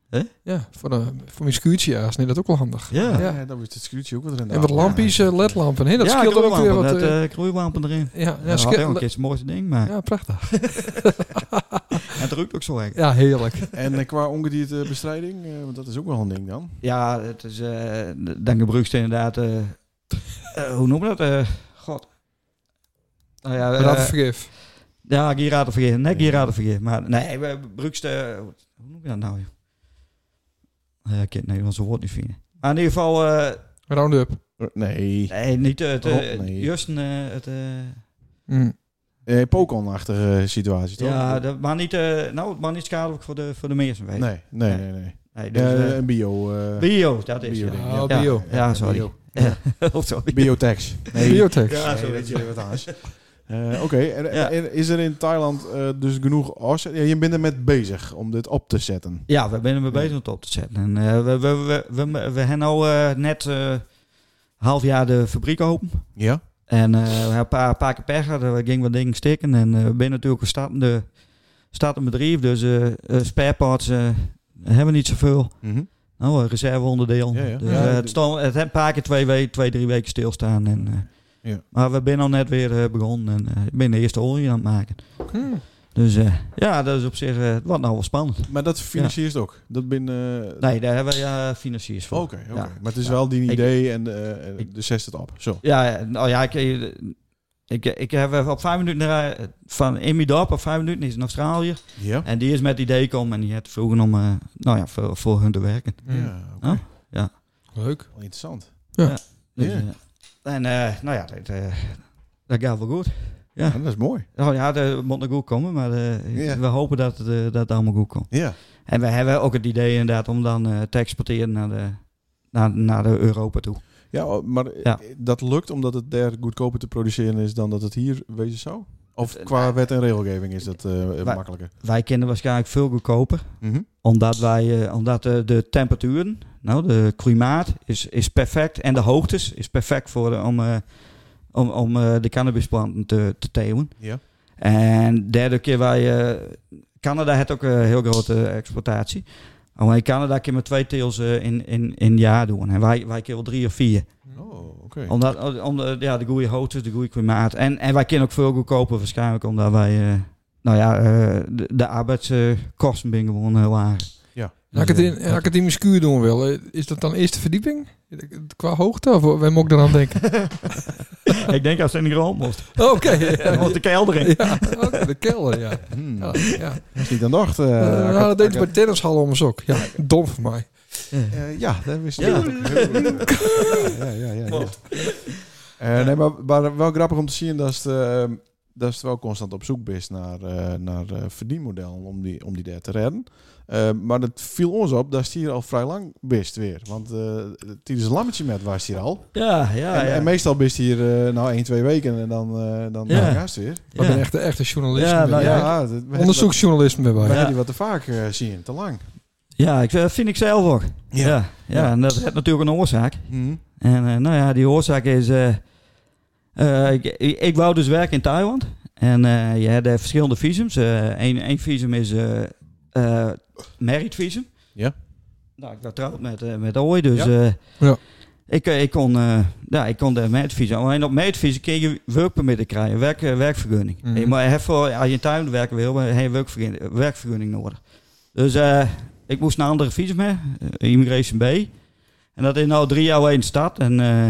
H: Hè?
B: ja, voor, een voor mijn schuurtje ja, is niet dat ook wel handig.
H: Ja.
A: Ja, dan wordt het schuurtje ook wat rendabel.
B: En wat lampjes, eh, ledlampen. Hè, dat
H: nou, ja,
B: scheelt ook weer wat.
H: dat,
B: eh,
H: eh, knoeilampen erin.
B: ja, ja,
H: Ja, dat
B: scheelt-
H: is het mooiste ding, maar
B: ja, prachtig.
H: en het ruikt ook zo lekker.
B: Ja, heerlijk.
A: En eh, qua ongedierte bestrijding, eh, want dat is ook wel een ding dan.
H: Ja, het is, eh dan gebruikt ze inderdaad, eh, eh, hoe noem je dat? Eh, God. Nou ja,
B: Raad
H: eh,
B: vergif.
H: ja, giraten vergeet. Nee, giraten vergeet. Maar nee, we gebruikt, eh, hoe noem je dat nou? joh? Ja, ik ken het Nederlands woord niet vinden. Maar in ieder geval, eh,
B: Roundup.
A: Eh, Nee.
H: nee, niet eh, het, eh,
A: Oh, nee.
H: juist een, eh, het, eh,
B: Mm.
A: Eh, Pokémon-achtige eh, situatie, toch?
H: ja, dat, maar niet, eh, nou, het mag niet schadelijk voor de, voor de mensen, weet je.
A: Nee, nee, nee. nee.
H: Nee, dus,
A: Eh,
H: eh,
A: een bio... eh,
H: bio, dat is
A: Oh, bio
H: het.
A: ding,
B: Ja,
A: ja.
B: bio.
H: Ja, sorry. (laughs) Oh,
A: Bio.
H: of zo.
A: Biotax.
B: Biotex.
H: Ja, zo
A: weet
H: weet
A: je
H: je. (laughs)
A: wat anders. Eh, Oké, en,
H: Ja.
A: en is er in Thailand eh, dus genoeg afzet? Ja, je bent er met bezig om dit op te zetten.
H: Ja, we zijn ermee bezig om het op te zetten. En, eh, we, we, we, we, we hebben nou eh, net eh half jaar de fabriek open.
A: Ja?
H: En eh, we hebben een paar, paar keer pech gehad. Er ging wat dingen stikken. En eh, we zijn natuurlijk een startende, startend bedrijf. Dus eh eh, spare parts eh, hebben we niet zoveel.
A: Mhm.
H: Nou, een reserveonderdeel.
A: Ja, ja.
H: Dus,
A: Ja,
H: eh,
A: die-
H: het, stond, het heeft een paar keer twee, we- twee drie weken stilstaan. En, eh,
A: Ja.
H: Maar we zijn al net weer eh, begonnen. En eh, ik ben de eerste olie aan het maken.
B: Mm.
H: Dus eh, ja, dat is op zich eh, wat nou wel spannend.
A: Maar dat financiert ook? Dat ben, eh,
H: Nee, daar hebben we ja, financiers voor.
A: Oké, oké.
H: Ja.
A: Maar het is
H: Ja.
A: wel die
H: Ik-
A: idee en eh,
H: ik-
A: de zet het op. Zo.
H: Ja, nou ja, ik, ik, eh, ik heb even op vijf minuten eh, van Emmy Dorp, op vijf minuten is een Australiër.
A: Ja?
H: En die is met het idee gekomen en die had vroegen om, eh, nou ja, voor, voor hun te werken.
B: Mm.
A: Ja, oké.
H: Oh, ja.
B: Leuk.
A: Wel Interessant.
H: Dus,
A: Ja.
H: eh, en eh, nou ja, dat, eh, dat gaat wel goed.
A: Ja, dat is mooi.
H: Nou ja, dat moet nog goed komen, maar eh,
A: Ja.
H: we hopen dat het, eh, dat het allemaal goed komt.
A: Ja.
H: En we hebben ook het idee inderdaad om dan eh, te exporteren naar, de, naar, naar de Europa toe.
A: Ja, oh, maar eh,
H: Ja.
A: dat lukt omdat het daar goedkoper te produceren is dan dat het hier wezen zou? Of
H: Eh,
A: qua
H: nou,
A: wet en regelgeving is dat eh,
H: wij-
A: makkelijker?
H: Wij kennen waarschijnlijk veel goedkoper.
A: Mhm.
H: Omdat, wij, eh, omdat eh, de temperaturen, nou, de klimaat is, is perfect en de hoogtes is perfect voor, eh, om, eh, om, om eh, de cannabisplanten te, te teeuwen.
A: Ja.
H: En derde keer wij, eh, Canada heeft ook een heel grote exportatie. Alleen Canada kan maar twee teels eh, in, in, in het jaar doen. En wij, wij kunnen wel drie of vier.
A: Oh, oké.
H: Omdat, om de, ja, de goede hoogtes, de goede klimaat. En, en wij kunnen ook veel goedkoper waarschijnlijk, omdat wij... eh, nou ja, eh, de, de arbeidskosten zijn gewoon heel laag. Dus,
B: En Als ik het in, als ik het in mijn schuur doen wil, eh, is dat dan eerste verdieping? Qua hoogte, of waar moet ik dan aan denken?
H: (laughs) ik denk als ze in de grond moest.
B: Oh, (laughs) Oké, ja,
H: Dan moest de kelder in.
B: ja, oké, de kelder, ja.
A: Hmm,
B: ja,
A: dat
B: ja.
A: is niet aan de ochtend, eh,
B: Eh, nou, dat
A: Akker.
B: deed ze bij tennishallen om een sok. Ja, dom voor mij.
A: Eh, ja, dat wist ik.
H: Ja.
A: ook. Ja, ja, ja. ja, ja. Eh, nee, maar, maar wel grappig om te zien dat je eh, dat je wel constant op zoek bent naar, eh, naar eh, verdienmodellen om die, om die daar te redden. Eh, maar het viel ons op dat je hier al vrij lang bist weer. Want eh tijdens een lammetje met was je hier al.
H: Ja, ja,
A: en,
H: ja.
A: en meestal bist je hier eh, nou één, twee weken en dan, eh dan
H: Ja.
A: dan ga je weer.
B: Ik ben
H: Ja.
B: echt een echte journalist.
H: Ja,
B: ben
H: nou
B: ik.
H: ja.
A: dat- we hebben
B: Onderzoeksjournalist ben
A: dat- We
B: wij.
H: Ja.
A: hebben die wat te vaak eh, zien, te lang.
H: Ja, ik, eh, vind ik zelf ook. Ja. Ja,
A: Ja.
H: en dat heeft natuurlijk een oorzaak.
A: Hm.
H: En eh, nou ja, die oorzaak is... eh, eh, ik, ik, ik wou dus werken in Taiwan. En eh, je hebt eh, verschillende visums. Eén één visum is eh eh, married visum.
A: Ja.
H: Nou, ik was trouwd met, eh, met Ooi, dus...
A: Ja.
H: eh,
B: Ja.
H: Ik, eh, ik, kon, eh ja, ik kon de married visum. Alleen op married visum kun je werkpermitten krijgen, werk, eh, werkvergunning.
B: Mhm.
H: Je moet- je hebt voor, als je in Taiwan werken wil, heb je werkvergunning, werkvergunning nodig. Dus eh, ik moest naar een andere visum mee, eh, Immigration B. En dat is nou drie jaar in de stad. En, eh,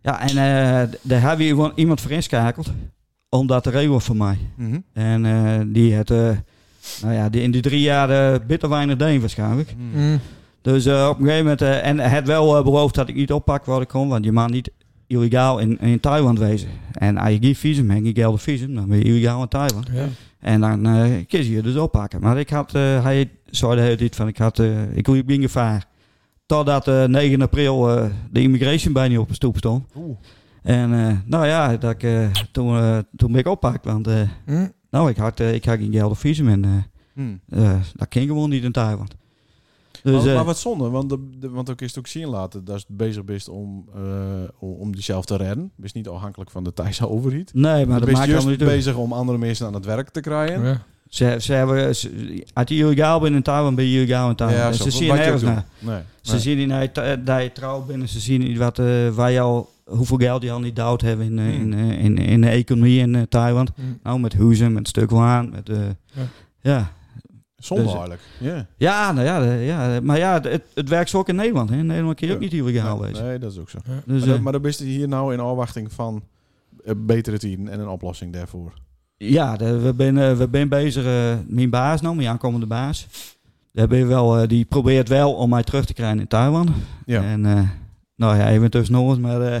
H: ja, en eh, daar hebben we iemand- iemand voor inschakeld. Omdat de regel voor mij.
A: Mhm.
H: En eh, die had, eh, nou ja, die in die drie jaar eh, bitter weinig deed waarschijnlijk.
A: Hm.
B: Mm.
H: Dus eh, op een gegeven moment, eh, en het wel eh, beloofd dat ik niet oppak wat ik kon. Want je mag niet illegaal in, in Taiwan wezen. En als je geen visum hebt, geen geldig visum, dan ben je illegaal in Taiwan.
B: Ja.
H: En dan eh kun je je dus oppakken. Maar ik had, eh, hij zei de hele tijd van, ik, had, eh, ik liep in gevaar. Totdat eh 9 april eh, de immigration bij niet op de stoep stond.
A: Oeh.
H: En eh, nou ja, dat ik, eh, toen, eh, toen ben ik oppakt. Want eh,
B: Mm.
H: nou, ik had, eh, ik had geen geldig visum en eh,
A: Hm.
H: eh, dat ging gewoon niet in Taiwan. Dus,
A: maar,
H: eh,
A: maar wat zonde, want, de, de- want ook is het ook zien laten dat je bezig bent om, eh, om om die zelf te redden. Dus niet afhankelijk van de Thaise overheid.
H: nee, maar Nou, dat
A: je bent
H: maakt helemaal
A: juist
H: niet uit.
A: bezig om andere mensen aan het werk te krijgen.
B: Ja.
H: Ze, ze hebben, ze, als je illegaal bent in Taiwan, ben je illegaal in Taiwan. En
A: zo,
H: ze
A: wat-
H: zien
A: wat je
H: nergens
A: ook doet.
H: naar.
A: Nee,
H: Ze
A: nee.
H: zien niet naar je, ta- dat je trouw bent. en Ze zien niet wat, eh, waar je al, hoeveel geld je al niet dood hebben in, eh,
A: Hmm.
H: in, eh, in, in de economie in eh, Taiwan.
B: Mm.
H: Nou, met huizen, met stuk waan. Met, eh,
B: Ja.
H: ja. Ja.
A: zonde
H: dus-
A: eigenlijk. Ja.
H: nou ja, de- ja, maar ja, de- het, het werkt zo ook in Nederland. Hè. In Nederland kun je ook
A: Ja.
H: niet illegaal
A: nee,
H: wezen.
A: nee, dat is ook zo.
H: Dus,
A: maar, dat,
H: eh,
A: maar dan ben je hier nou in afwachting van eh, betere tijden en een oplossing daarvoor.
H: Ja, de- we zijn we ben bezig. eh, mijn baas nou, mijn aankomende baas. Daar ben je wel, eh, die probeert wel om mij terug te krijgen in Taiwan.
A: Ja.
H: En eh, nou ja, even tussendoor. Maar eh,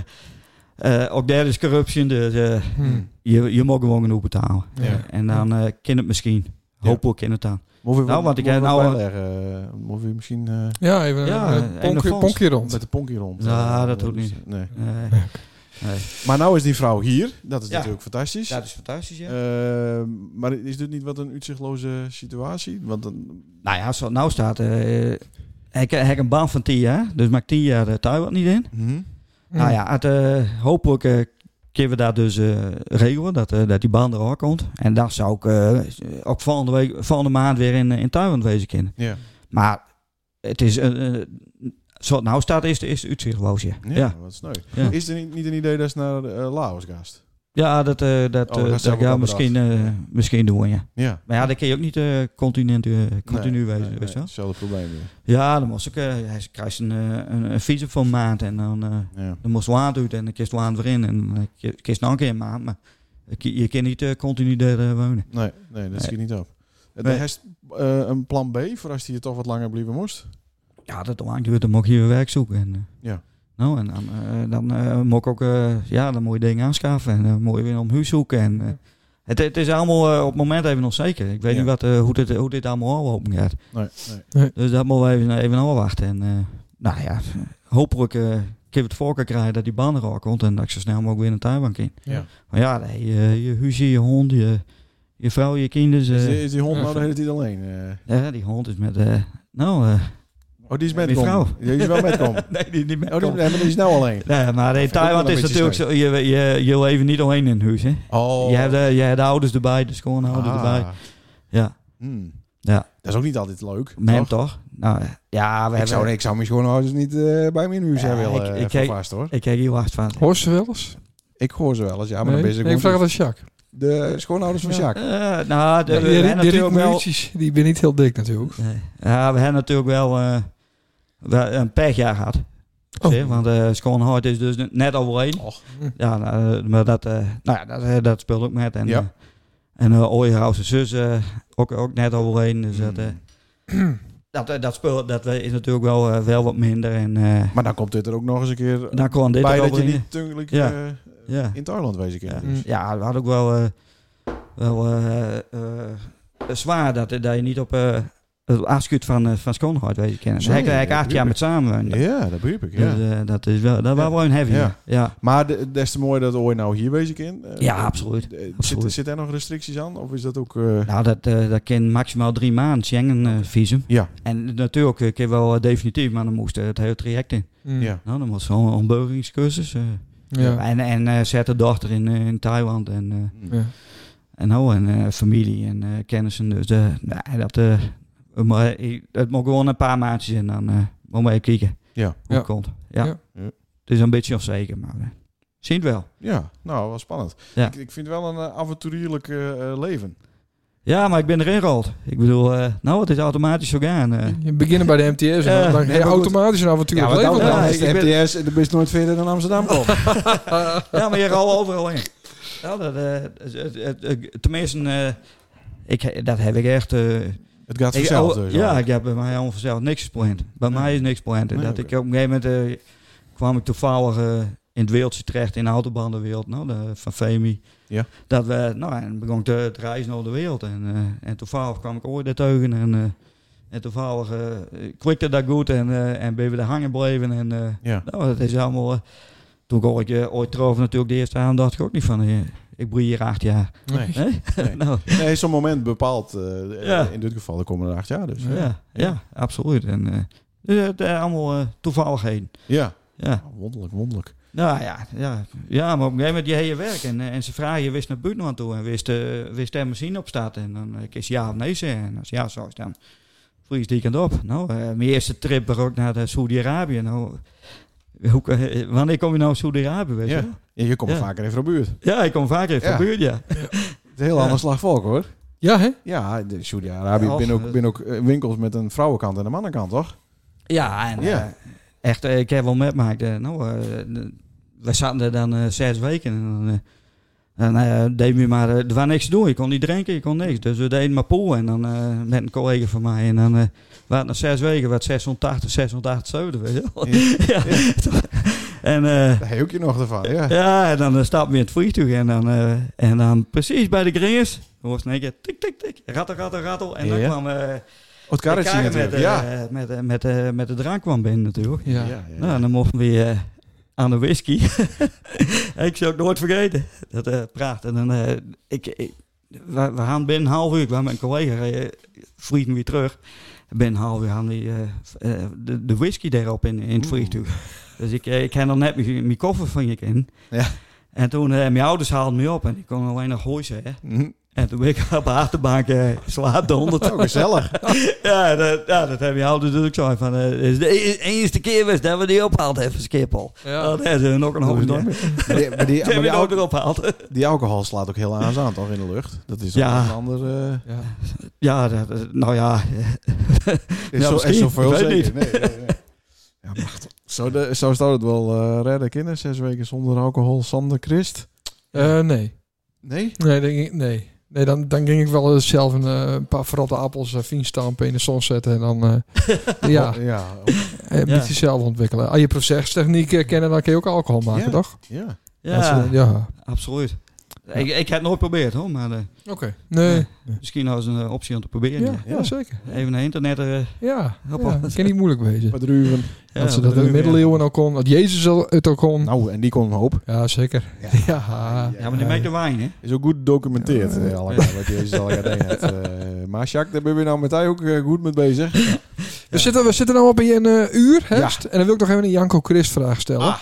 H: eh, ook daar is corruptie. Dus eh,
B: Mm.
H: je, je mag gewoon genoeg betalen.
A: Ja.
B: Ja.
H: En dan eh kan het misschien.
A: Ja.
H: Hopelijk kan het dan.
A: Moet je,
H: Nou, want ik
A: moet je
H: heb
A: wat
H: nou-
A: bijleggen? Eh, moet je misschien eh,
B: Ja, even
H: Ja,
B: een
H: een
B: ponkje,
H: fonds.
B: ponkje rond.
A: met de ponkie rond?
H: Ja,
A: eh,
H: Nou, dat hoeft niet.
A: Nee.
H: Eh, nee.
A: Maar nou is die vrouw hier. Dat is
H: Ja.
A: natuurlijk fantastisch.
H: Dat is fantastisch, ja.
A: Eh, maar is dit niet wat een uitzichtloze situatie? Want dan,
H: nou ja, zoals het nou staat. eh, ik ik heb een baan van 10 jaar. Dus maak 10 jaar de Taiwan niet in.
A: Mhm.
B: Mm.
H: Nou ja, het, eh, hopelijk eh, kunnen we dat dus eh, regelen, dat, eh, dat die baan er ook komt. En dan zou ik eh, ook volgende, week, volgende maand weer in, eh, in Taiwan wezen kunnen.
A: Ja.
H: Maar het is, eh, eh, zoals het nou staat, is, de- is het uitzichtloos, ja.
A: Ja,
H: Ja,
A: wat sneu.
H: Ja.
A: Is er niet, niet een idee dat ze naar eh, Laos gaat?
H: ja dat, eh dat,
A: Oh,
H: eh,
A: dat
H: dat,
A: zou ik
H: gaan
A: wel
H: we misschien, eh, misschien doen, ja.
A: Ja.
H: Maar ja, dan kun je ook niet eh continu, eh, continu
A: Nee,
H: wezen,
A: nee,
H: weet je
A: nee,
H: wel.
A: Hetzelfde probleem weer.
H: Ja, dan moest ik, eh, hij krijgt een, eh, een, een visum voor een maand en dan... eh,
A: Ja.
H: Dan moest water uit en dan kist water weer in. En dan eh, ki- kist nog een keer een maand. Maar je je kan niet eh, continu daar eh, wonen.
A: Nee, nee, dat schiet niet op. Eh,
H: Nee.
A: Hij is eh, een plan B voor als hij hier toch wat langer blijven moest?
H: Ja, dat lang duurt. Dan mocht je weer werk zoeken. En, eh,
A: Ja.
H: Nou, en dan, eh, dan eh, moet ik ook eh, ja, dan moet je dingen aanschaffen. En dan moet je weer om huis zoeken. En, eh, het, het is allemaal eh, op het moment even onzeker. Ik weet
A: Ja.
H: niet wat, eh, hoe, dit, hoe dit allemaal aflopen gaat.
A: Nee, nee.
H: Dus dat moeten we even, even afwachten. En eh, nou ja, hopelijk eh kunnen we het voorkeur krijgen dat die baan er ook komt. En dat ik zo snel mogelijk weer naar Taiwan kan.
A: Ja.
H: Maar ja, nee, je, je huisje, je hond, je, je vrouw, je kinderen.
A: Is,
H: eh,
A: die, is die hond nou de hele tijd alleen? eh?
H: ja, die hond is met... eh, nou, eh,
A: oh, die is met
H: Die
A: Kom.
H: vrouw.
A: Die is wel (laughs) met Kom. Oh,
H: nee, die, die met
A: die, nee, maar die is nou alleen.
H: Nee, maar in
A: vind ik ook
H: Taiwan
A: wel een
H: is
A: beetje
H: natuurlijk zo, je, je, je leeft niet alleen in huis, hè.
A: Oh.
H: Je, hebt, eh, je hebt de ouders erbij, de schoonouders erbij.
A: Ah.
H: Ja,
A: Hmm.
H: Ja.
A: Dat is ook niet altijd leuk.
H: met hem
A: toch?
H: toch? Nou, eh, ja, we
A: Ik zou,
H: hebben...
A: ik zou mijn schoonhouders niet eh, bij mijn huis
H: Ja,
A: hebben
H: ik-
A: willen.
H: ik
A: Ik,
H: kijk-
A: vast hoor.
H: Ik kijk hier hard van.
B: Hoor ze wel eens?
A: Ik hoor ze wel eens, ja, maar
B: Nee?
A: dan ben je
B: Nee, ik vraag
A: gewoon
B: het aan Jacques.
A: de schoonhouders van Sjaak.
H: Eh, nou, de,
B: Die,
H: we
B: die,
H: hebben
B: die,
H: natuurlijk wel...
B: rietmuurtjes, die ben niet heel dik natuurlijk.
H: Nee. Ja, we hebben natuurlijk wel, eh, wel een pechjaar gehad.
B: Oh.
H: Zie, Want eh Scone Hart is dus net overheen.
A: Och.
H: Ja, nou, maar dat, eh, nou ja, dat, eh, dat speelt ook met. En,
A: Ja.
H: eh, en eh Ooyenhoutse zus eh, ook, ook net overheen. Dus
A: Hmm.
H: dat, eh, dat, eh, dat speelt dat eh, is natuurlijk wel, eh, wel wat minder. En eh,
A: Maar dan komt dit er ook nog eens een keer
H: dan kwam dit
A: bij dat je
H: eroverheen.
A: niet natuurlijk
H: Ja.
A: eh,
H: Ja.
A: in Thailand wezen kan.
H: Ja,
A: Dus.
H: ja we hadden ook wel, eh, wel eh, eh, zwaar dat, dat je niet op eh het afschuurt van, eh, van Schoonhout weet je kennen. Daar heb ik
A: Zeker,
H: eigenlijk acht jaar met samen.
A: Ja. dat begrijp ik. Ja.
H: Dus eh, dat is wel, dat was wel een heavy.
A: Ja.
H: Ja, ja.
A: Maar de- des te mooi dat Ooi nou hier wezen kan. Eh,
H: Ja, absoluut.
A: eh, Zit,
H: Absoluut.
A: zit er nog restricties aan? Of is dat ook... eh,
H: Nou, dat, eh dat kan maximaal drie maanden Schengen eh, visum.
A: Ja.
H: En natuurlijk eh, kan wel eh, definitief, maar dan moest eh, het hele traject in.
B: Hmm.
A: ja.
H: Nou, dan was zo'n ontburgeringscursus. eh.
B: Ja.
H: En, en eh, zet de dochter in, eh, in Thailand en... eh,
B: Hmm. Ja.
H: En nou, en eh, familie en eh, kennissen. Dus eh, nou, dat, eh, maar, eh, dat moet gewoon een paar maandjes en dan eh moet maar even kijken
A: Ja.
H: hoe het komt. Ja.
B: Ja.
A: Ja.
H: Het is een beetje onzeker, maar eh, zien het wel.
A: Ja, nou, wel spannend.
H: Ja.
A: Ik, ik vind wel een eh, avonturierlijk eh, eh, leven.
H: Ja, maar ik ben erin rold. Ik bedoel, eh, nou, het is automatisch zo gaan. eh.
B: Je beginnen bij de MTS en
H: Ja,
B: dan, dan
A: nee,
B: ga je
A: maar goed.
B: automatisch een avontuur
A: Ja, want
B: leven
A: dan,
H: dan
B: leiden.
H: is
A: is
H: de
A: de MTS de best nooit verder dan Amsterdam komt.
H: ja, maar je rolt overal in. Ja, dat, eh, het- het- het- het- tenminste, eh, ik, dat heb ik echt... eh,
A: Het gaat
H: Ik-
A: vanzelf.
H: oh,
A: dus
H: ja,
A: al.
H: ik heb bij mij al vanzelf niks gepland. Bij mij is niks gepland. En
A: Nee,
H: dat
A: oké.
H: ik op een gegeven moment eh, kwam ik toevallig eh, in het wereldje terecht, in de autobandenwereld, nou, de, van Femi.
A: Ja.
H: Dat we, nou, en begon te, te reizen over de wereld. En, eh, en toevallig kwam ik ooit teugen en, eh en toevallig eh, kwikte dat goed en, eh, en ben we er hangen blijven. En, eh,
A: Ja.
H: nou, dat is allemaal... eh, toen ik ooit, eh, ooit trof natuurlijk de eerste aan, dacht ik ook niet van, eh, ik broei hier acht jaar.
A: Nee.
H: Hè?
A: Nee.
H: (laughs) nou,
A: nee, zo'n moment bepaalt. eh,
H: Ja.
A: In dit geval, er komen er acht jaar dus.
H: ja, ja, absoluut. En, eh, dus het eh, allemaal eh, toevalligheden.
A: Ja,
H: Ja.
A: Nou, wonderlijk, wonderlijk.
H: Nou ja, ja, ja, maar op een gegeven moment je hele werk. En, eh, en ze vragen je wist naar buiten aan toe en wist, eh wist er machine op staat. En dan eh, kies je ja of nee zeggen. En als ja zo is, dan vries die kant op. Nou, eh, mijn eerste trip was ook naar eh, Saudi-Arabië. Nou, hoe, kan- eh, wanneer kom je nou in Saudi-Arabië? weet je
A: Ja.
H: wel?
A: Ja, je komt
H: Ja.
A: vaker even op buurt. Het
H: ja, ik kom vaak even
A: Ja.
H: van buurt, ja.
A: is een heel
H: Ja.
A: ander slag volk hoor.
B: Ja, hè?
A: Ja, de Saudi-Arabië
H: Ja,
A: ben
H: eh,
A: ook, ben ook eh, winkels met een vrouwenkant en een mannenkant, toch?
H: Ja, en
A: Ja.
H: eh, echt, eh, ik heb wel meegemaakt. eh, nou, eh, de- we zaten er dan eh, zes weken. En dan, eh, dan eh, deden we maar, eh, er was niks te doen. Je kon niet drinken, je kon niks. Dus we deden maar pool. En dan eh, met een collega van mij. En dan eh waren het na zes weken, wat 680, 678, weet je wel. (laughs) Ja. en... eh,
A: Daar heb je nog ervan.
H: (laughs)
A: Ja.
H: ja, en dan eh, stappen we in het vliegtuig en dan, eh, en dan precies bij de grens hoor je in één keer tik, tik, tik, rattel, rattel, rattel. En dan
A: Ja.
H: kwam eh,
A: Oh, het
H: de
A: karretje
H: kar met,
A: natuurlijk.
H: eh,
A: Ja.
H: met, eh, met, eh, met de drank kwam binnen natuurlijk.
B: Ja.
A: Ja, ja.
H: Nou, dan mochten we eh, aan de whisky. (laughs) ik zou het nooit vergeten. Dat eh praat. En dan, eh, ik, ik- we, we gaan binnen een half uur, ik was met een collega, eh vliegen weer terug. Binnen een half uur hadden we eh, v- eh, de, de whisky daarop in, in het vliegtuig. Dus ik, eh, ik had nog net mijn mijn koffer van je in.
A: Ja.
H: En toen, eh, mijn ouders haalden me op en ik kon alleen nog hooi zeggen.
A: Mhm.
H: En toen ben ik (laughs) op de achterbank eh, slaap de honderd.
A: Oh, gezellig.
H: Ja, dat, ja, dat hebben je ouders natuurlijk zo van. eh, is de e- eerste keer was dat we die ophaald hebben, Schiphol.
B: Ja.
H: Dat hebben ze nog een hoop
A: Dat
H: gedaan.
A: is Maar die, maar die,
H: Ze
A: maar
H: hebben Nou, die
A: die,
H: ook
A: alcohol,
H: erop gehaald.
A: die alcohol slaat ook heel aan aan, toch, in de lucht? Dat is
H: Ja.
A: ja. een ander... eh,
B: Ja.
H: Ja, dat- dat- nou ja.
A: Is
H: Ja,
A: zo,
H: misschien.
A: is zoveel
H: Ik weet
A: zeker.
H: niet.
A: Nee, nee, nee. (laughs) Ja, maar toch. Zo, de, zo zou het wel eh, redden, kinderen. Zes weken zonder alcohol, zonder Christ.
B: Eh, nee.
A: Nee?
B: Nee, denk ik, nee. Nee, dan, dan ging ik wel eh, zelf een, eh, een paar verrotte appels uh, stampen in de zon zetten. En dan eh, ja,
A: Oh, ja. oh,
B: eh, moet
H: Ja.
B: je zelf ontwikkelen. Als je procestechnieken kennen, dan kun je ook alcohol maken,
A: Ja.
B: toch?
A: ja.
B: Dat
H: Ja,
B: is, eh, ja.
H: absoluut. Ik, ik heb het nooit geprobeerd hoor, maar eh,
B: Oké. Nee.
H: Ja. misschien als een eh, optie om te
B: Ja,
H: proberen.
B: ja,
A: Ja.
B: zeker.
H: Even naar internet. eh,
B: Ja,
H: Hoppa.
B: ja. Het kan niet moeilijk wezen.
A: Wat ruwen.
H: ja,
B: dat ze dat
H: wat
B: in de
H: doen we?
B: middeleeuwen al kon. Dat Jezus al- het al kon.
A: Nou, en die kon een hoop.
B: Ja, zeker.
A: Ja.
B: (laughs) Ja.
H: Ja, maar die maakt de wijn, hè?
A: Is ook goed gedocumenteerd, eh, allemaal, wat Jezus al gedaan heeft. Eh, maar Jacques, daar ben je nou met hij ook eh, goed mee bezig.
B: We, zitten, we zitten nu op een eh, uur, hè?
A: Ja.
B: En dan wil ik nog even een Janko Christ vraag stellen.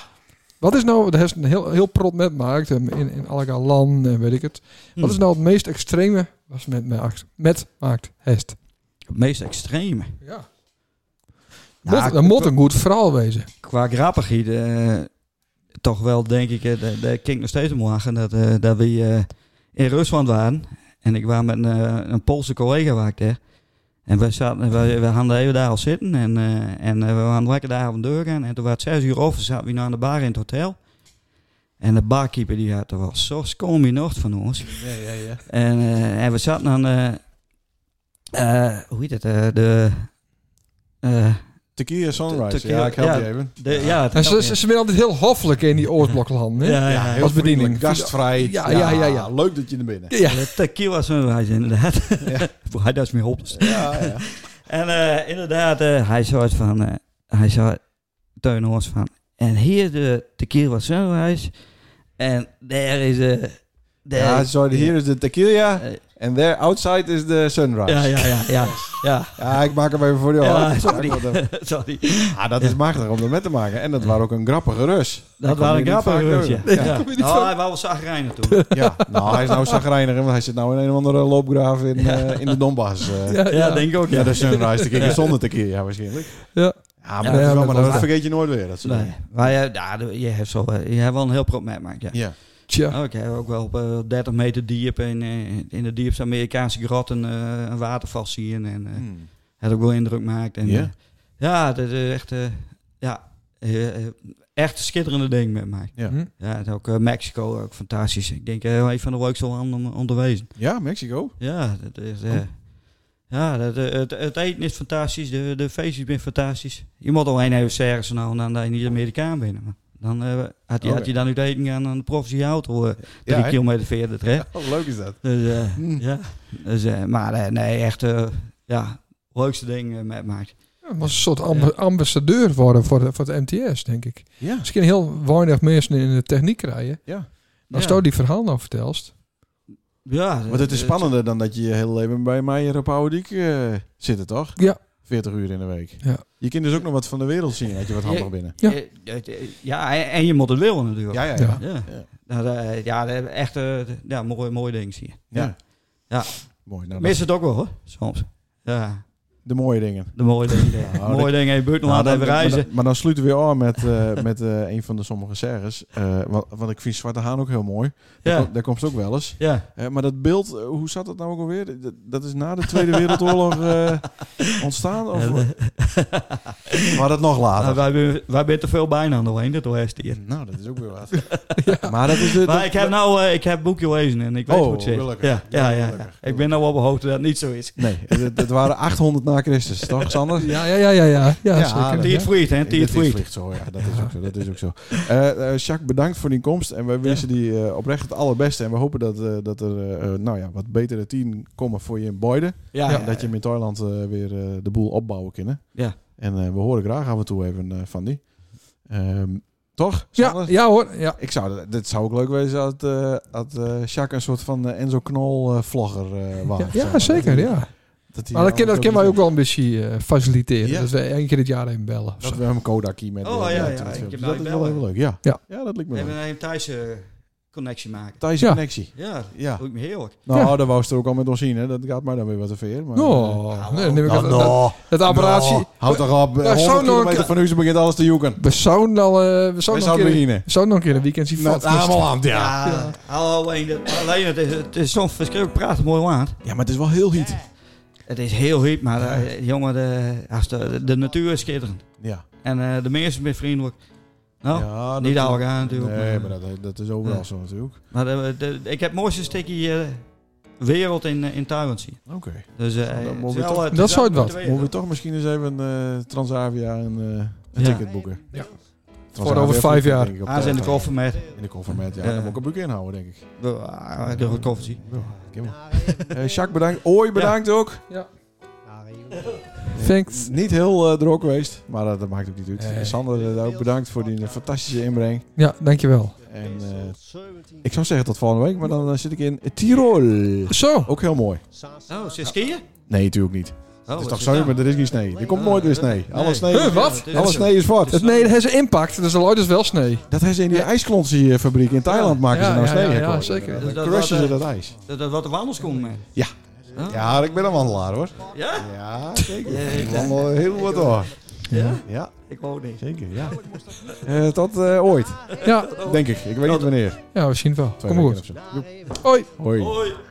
B: Wat is nou, daar is een heel, heel prot met maakt eh, in, in allerlei landen en weet ik het.
H: Hm.
B: Wat is nou het meest extreme was met maakt? Met maakt hest.
H: Het meest extreme.
B: Ja.
H: Nou,
B: dat moet een goed verhaal wezen.
H: Qua grappigheid, eh, toch wel denk ik, eh, dat dat klinkt nog steeds om lachen, dat, eh, dat we eh, in Rusland waren. En ik was met een, eh, een Poolse collega waar ik daar. En we, zaten, we, we hadden even daar al zitten en, eh, en eh, we waren lekker daar aan de deur gaan. En toen was het zes uur over, zaten we naar de bar in het hotel. En de barkeeper die had er was zo skominocht van ons.
B: Ja, ja, ja.
H: En, eh, en we zaten aan, eh, eh, hoe heet het, eh, de... eh,
A: Tequila Sunrise.
H: Tequila,
A: ja, ik help
H: ja.
A: je even.
H: de ja, het
B: En ze,
H: helpt
B: ze, ze zijn altijd heel hoffelijk in die oortbloklanden. hè?
H: Ja, ja,
A: Ja,
H: ja.
A: heel
B: Als bediening.
A: vriendelijk, Gastvrij.
B: Ja, ja, ja, ja.
A: Leuk dat je er binnen.
B: ja.
H: De eh, tequila sunrise, inderdaad. Voor (laughs) hij dat meer op.
A: Ja, ja.
H: En eh, inderdaad, eh, hij zei het van, eh, hij zei Teun Hoors van, en hier de tequila sunrise, en daar is eh daar-
A: ja sorry, hier is de tequila.
H: Eh,
A: En there outside is de sunrise.
H: ja,
A: Ja,
H: ja, ja, ja,
A: (laughs)
H: ja.
A: ik maak hem even voor jou.
H: Ja,
A: Ja,
H: sorry. Sorry.
A: Ah, dat is machtig om dat met te maken. En dat waren ook een grappige Rus.
H: Dat
A: kom je
H: waren
A: niet vaak
H: grappige reuzen.
A: door. Ja.
H: Ja. Nou, hij was wel zagrijnig toen.
A: Ja, nou, hij is nou zagrijnig, want hij zit nou in een of andere loopgraaf in, eh, in de Donbass. eh. (laughs) ja.
B: Ja, ja.
H: ik ook.
A: de sunrise te kijken zonder tequila, ja, waarschijnlijk.
B: Ja.
A: Ja, maar,
H: Ja,
A: dat, is
B: ja,
A: wel,
B: dat
A: maar dat
B: was-
A: vergeet je nooit weer. Dat soort
H: Nee,
A: dingen.
H: maar je, ja, je, hebt zo, eh, je hebt wel een heel prop meegemaakt, ja.
A: Ja.
B: Tja.
H: Oh, ik heb ook wel op eh, 30 meter diep in, eh, in de diepste Amerikaanse grot een, eh, een waterval zien. En eh
A: Hmm.
H: het ook wel indruk maakt. En,
A: Ja?
H: eh, ja, dat is echt, eh, ja, eh, eh, echt een schitterende ding met mij.
A: Ja.
B: Hm?
H: Ja, het ook eh, Mexico, ook fantastisch. Ik denk eh, een van de leukste landen om, om te wezen.
A: Ja, Mexico.
H: Ja, dat is...
A: Oh.
H: eh, ja, dat, eh, het, het eten is fantastisch, de, de feestjes zijn fantastisch. Je moet alleen even zeggen, zo nou, dan dat je niet Amerikaan bent. maar Dan eh, had, je,
A: Oh,
H: had je dan uit eten gaan aan de professie auto, eh,
A: Ja,
H: drie
A: hè?
H: kilometer verder, hè?
A: Oh, leuk is dat.
H: Dus, eh,
A: Hmm.
H: ja. Dus, eh, maar eh, nee, echt, eh, ja, leukste ding eh, met Maarten.
B: Ja, was een soort amb- ambassadeur worden voor, de- voor het MTS, denk ik.
A: Ja.
B: Misschien heel weinig mensen in de techniek krijgen.
A: Ja.
B: Als
H: Ja.
B: je die verhaal nou vertelst.
H: Ja,
A: Want het is
H: eh,
A: spannender dan dat je je hele leven bij mij hier op Oude Diek eh, zit, toch?
B: Ja.
A: 40 uur in de week.
B: Ja.
A: Je kunt dus ook nog wat van de wereld zien, dat je wat handig binnen.
B: Ja.
H: eh, eh, eh, ja, en, en je moet het willen natuurlijk.
A: Ja, ja, ja.
B: Ja.
H: Ja,
A: Ja.
H: Nou, eh, ja dat- echt eh, ja, mooi, mooi ding zie je.
A: Ja.
H: Ja.
A: Mooi. Nou,
H: Mis
A: dat-
H: het ook wel hoor, soms. Ja,
A: de mooie dingen.
H: de mooie dingen.
A: Nou,
H: mooie dingen in je buurt nog
A: Nou,
H: laten
A: dan-
H: even
A: maar,
H: reizen.
A: dan, maar dan sluiten we weer aan met, eh, (laughs) met eh, een van de sommige serres. eh want, want ik vind Zwarte Haan ook heel mooi. Daar,
H: Ja,
A: kom- daar komt ze ook wel eens.
H: ja.
A: Eh, maar dat beeld, eh, hoe zat dat nou ook alweer? Dat, dat is na de Tweede Wereldoorlog eh,
H: (laughs)
A: ontstaan? Of, maar Ah, dat nog
H: Nou,
A: later.
H: wij, ben- wij zijn te veel bijna aan doorheen, dat hoor je hier.
A: Nou, dat is ook weer
H: (laughs)
A: wat. Maar dat is de...
H: Maar
A: dat-
H: ik heb nou, eh, ik heb het boekje gelezen en ik weet
A: Oh,
H: hoe het zit.
A: gelukkig.
H: Ja, ja,
A: Ja,
H: ja, ja.
A: gelukkig.
H: Ik ben nou op de hoogte dat het niet zo is.
A: Nee, het, het waren 800 na Christus, toch Sander?
B: Ja, ja, ja, ja. Ja, ja,
A: Ja, Ah, dat-
B: zeker.
H: Die
B: Ja.
H: het vliegt, hè? Die het
A: Dit is
H: vliegt.
A: vliegt zo, ja, dat is ook zo. Dat is ook zo. Eh, eh, Jacques, bedankt voor die komst. En wij wensen die eh, oprecht het allerbeste. En we hopen dat, eh, dat er eh, eh, nou ja, wat betere team komen voor je in Boyden.
H: Ja,
A: En dat je hem in Thailand eh, weer eh, de boel opbouwen kunnen.
H: Ja.
A: En eh, we horen graag af en toe even eh, van die. Ehm, toch?
B: Ja,
A: Sander?
B: ja hoor. Ja.
A: Ik zou, dat- dit zou ook leuk wezen als eh als, eh, Jacques een soort van eh, Enzo Knol eh, vlogger
B: (laughs)
A: eh was.
B: Ja,
A: zeg
B: ja,
A: maar.
B: zeker,
A: Dat hij-
B: ja.
A: dat hij
B: Maar dat,
A: alles
B: ken- dat kunnen wij ook wel een beetje eh, faciliteren.
A: Ja.
B: Dat we één keer het jaar even bellen. of
A: Dat
B: zo.
A: we hem Kodak hier met.
H: Oh,
A: eh,
H: ja,
A: met
H: ja,
A: het
H: ik
A: filmpje.
H: heb
A: Dat
H: nou
A: is
H: bellen.
A: wel heel leuk. Ja.
B: Ja.
A: dat lijkt me
H: Even
A: leuk.
H: een thuis eh, connectie maken.
A: Thijs
B: Ja.
A: connectie.
H: Ja,
A: Ja.
H: dat me heerlijk.
A: Nou, daar wou ze er ook al met ons zien. Hè. Dat gaat maar dan weer wat te ver. Maar, eh,
B: Oh, nee, dan neem ik
A: nou,
B: het,
A: nou,
B: dat, dat apparatie.
A: nou, houd toch op.
B: Ja,
A: 100
B: zo'n
A: kilometer
B: orka-
A: van u ze begint alles te joeken.
B: We zouden al, eh, we
A: We
B: zouden nog
A: zouden
B: een keer,
A: beginnen.
B: we zouden nog een keer een weekend zien
A: Nou,
B: vasten.
A: allemaal aan, ja.
H: Ja,
B: Ja.
H: hallo, alleen, dat- alleen het is, het is zo'n verschrikkelijk prachtig mooi land.
A: Ja, maar het is wel heel heet.
H: Het is heel heet, maar eh, jongen, de, als de, de natuur is schitterend.
A: Ja.
H: En eh, de mensen zijn vriendelijk. Nou,
A: ja dat-
H: niet ouder gaan natuurlijk.
A: Nee, maar
H: maar
A: dat, dat is overal
H: Ja.
A: zo natuurlijk.
H: maar de- de- ik heb het mooiste stukje eh, wereld in, eh, in Thailand zien.
A: Oké.
H: Dus, eh,
A: dan
H: het is
A: moeten we
H: wel,
A: toch-
H: eh, het
B: Dat
H: is
B: zou het
H: wel
B: wat.
H: twee-
A: Moeten we toch misschien eens even eh, Transavia een, eh, een
H: Ja.
A: ticket boeken?
B: Ja.
A: Transavia
B: over
A: vliegt,
B: vijf jaar.
A: denk ik, op
H: Ah, ze in de
A: tijd.
H: koffer met.
A: In de koffer met, ja.
H: Ja.
A: Dan moet ik een boek inhouden, denk ik.
H: Ah, De koffer zien.
A: Ja, Nou, ik heb hem. Eh, Jacques, bedankt. Ooi, bedankt ook. Eh,
B: Thanks.
A: Niet heel eh droog geweest, maar dat, dat maakt ook niet uit.
B: Nee.
A: En Sander, eh, ook bedankt voor die eh, fantastische inbreng.
B: Ja, dankjewel.
A: En eh, ik zou zeggen tot volgende week, maar dan eh, zit ik in Tirol.
B: Zo.
A: Ook heel mooi.
H: Oh, ze skiën? Oh,
A: Nee, natuurlijk niet. Het Oh, is toch zo, maar er is niet snee. Er komt
H: Ah,
A: nooit weer
H: nee.
A: snee. Alle snee,
B: Huh, wat?
A: alle snee is zwart.
B: Het, nee, dat heeft een impact. Dus de Lloyd is wel snee.
A: Dat is in die
B: Ja.
A: ijsklontiefabriek in Thailand maken ze
B: Ja,
A: nou
B: ja,
A: snee.
B: ja, ja,
A: gekozen.
B: zeker.
A: Dan
H: Dus dat
A: crushen ze dat
H: wordt,
A: ijs.
H: Dat, dat wat de wandels komt, man.
A: Ja, ik ben een wandelaar hoor.
H: Ja?
A: Ja, zeker.
H: Ja,
A: Ik
H: ja.
A: wandel heel wat hoor.
H: Ja?
A: Ja,
H: Ik wou niet.
A: zeker, ja. Eh, tot eh, ooit,
B: Ja,
A: denk ik. Ik weet niet wanneer.
B: ja we zien het wel.
A: Twee
B: Kom
A: weken
B: goed.
A: of zo.
B: Hoi.
A: Hoi.
H: Hoi.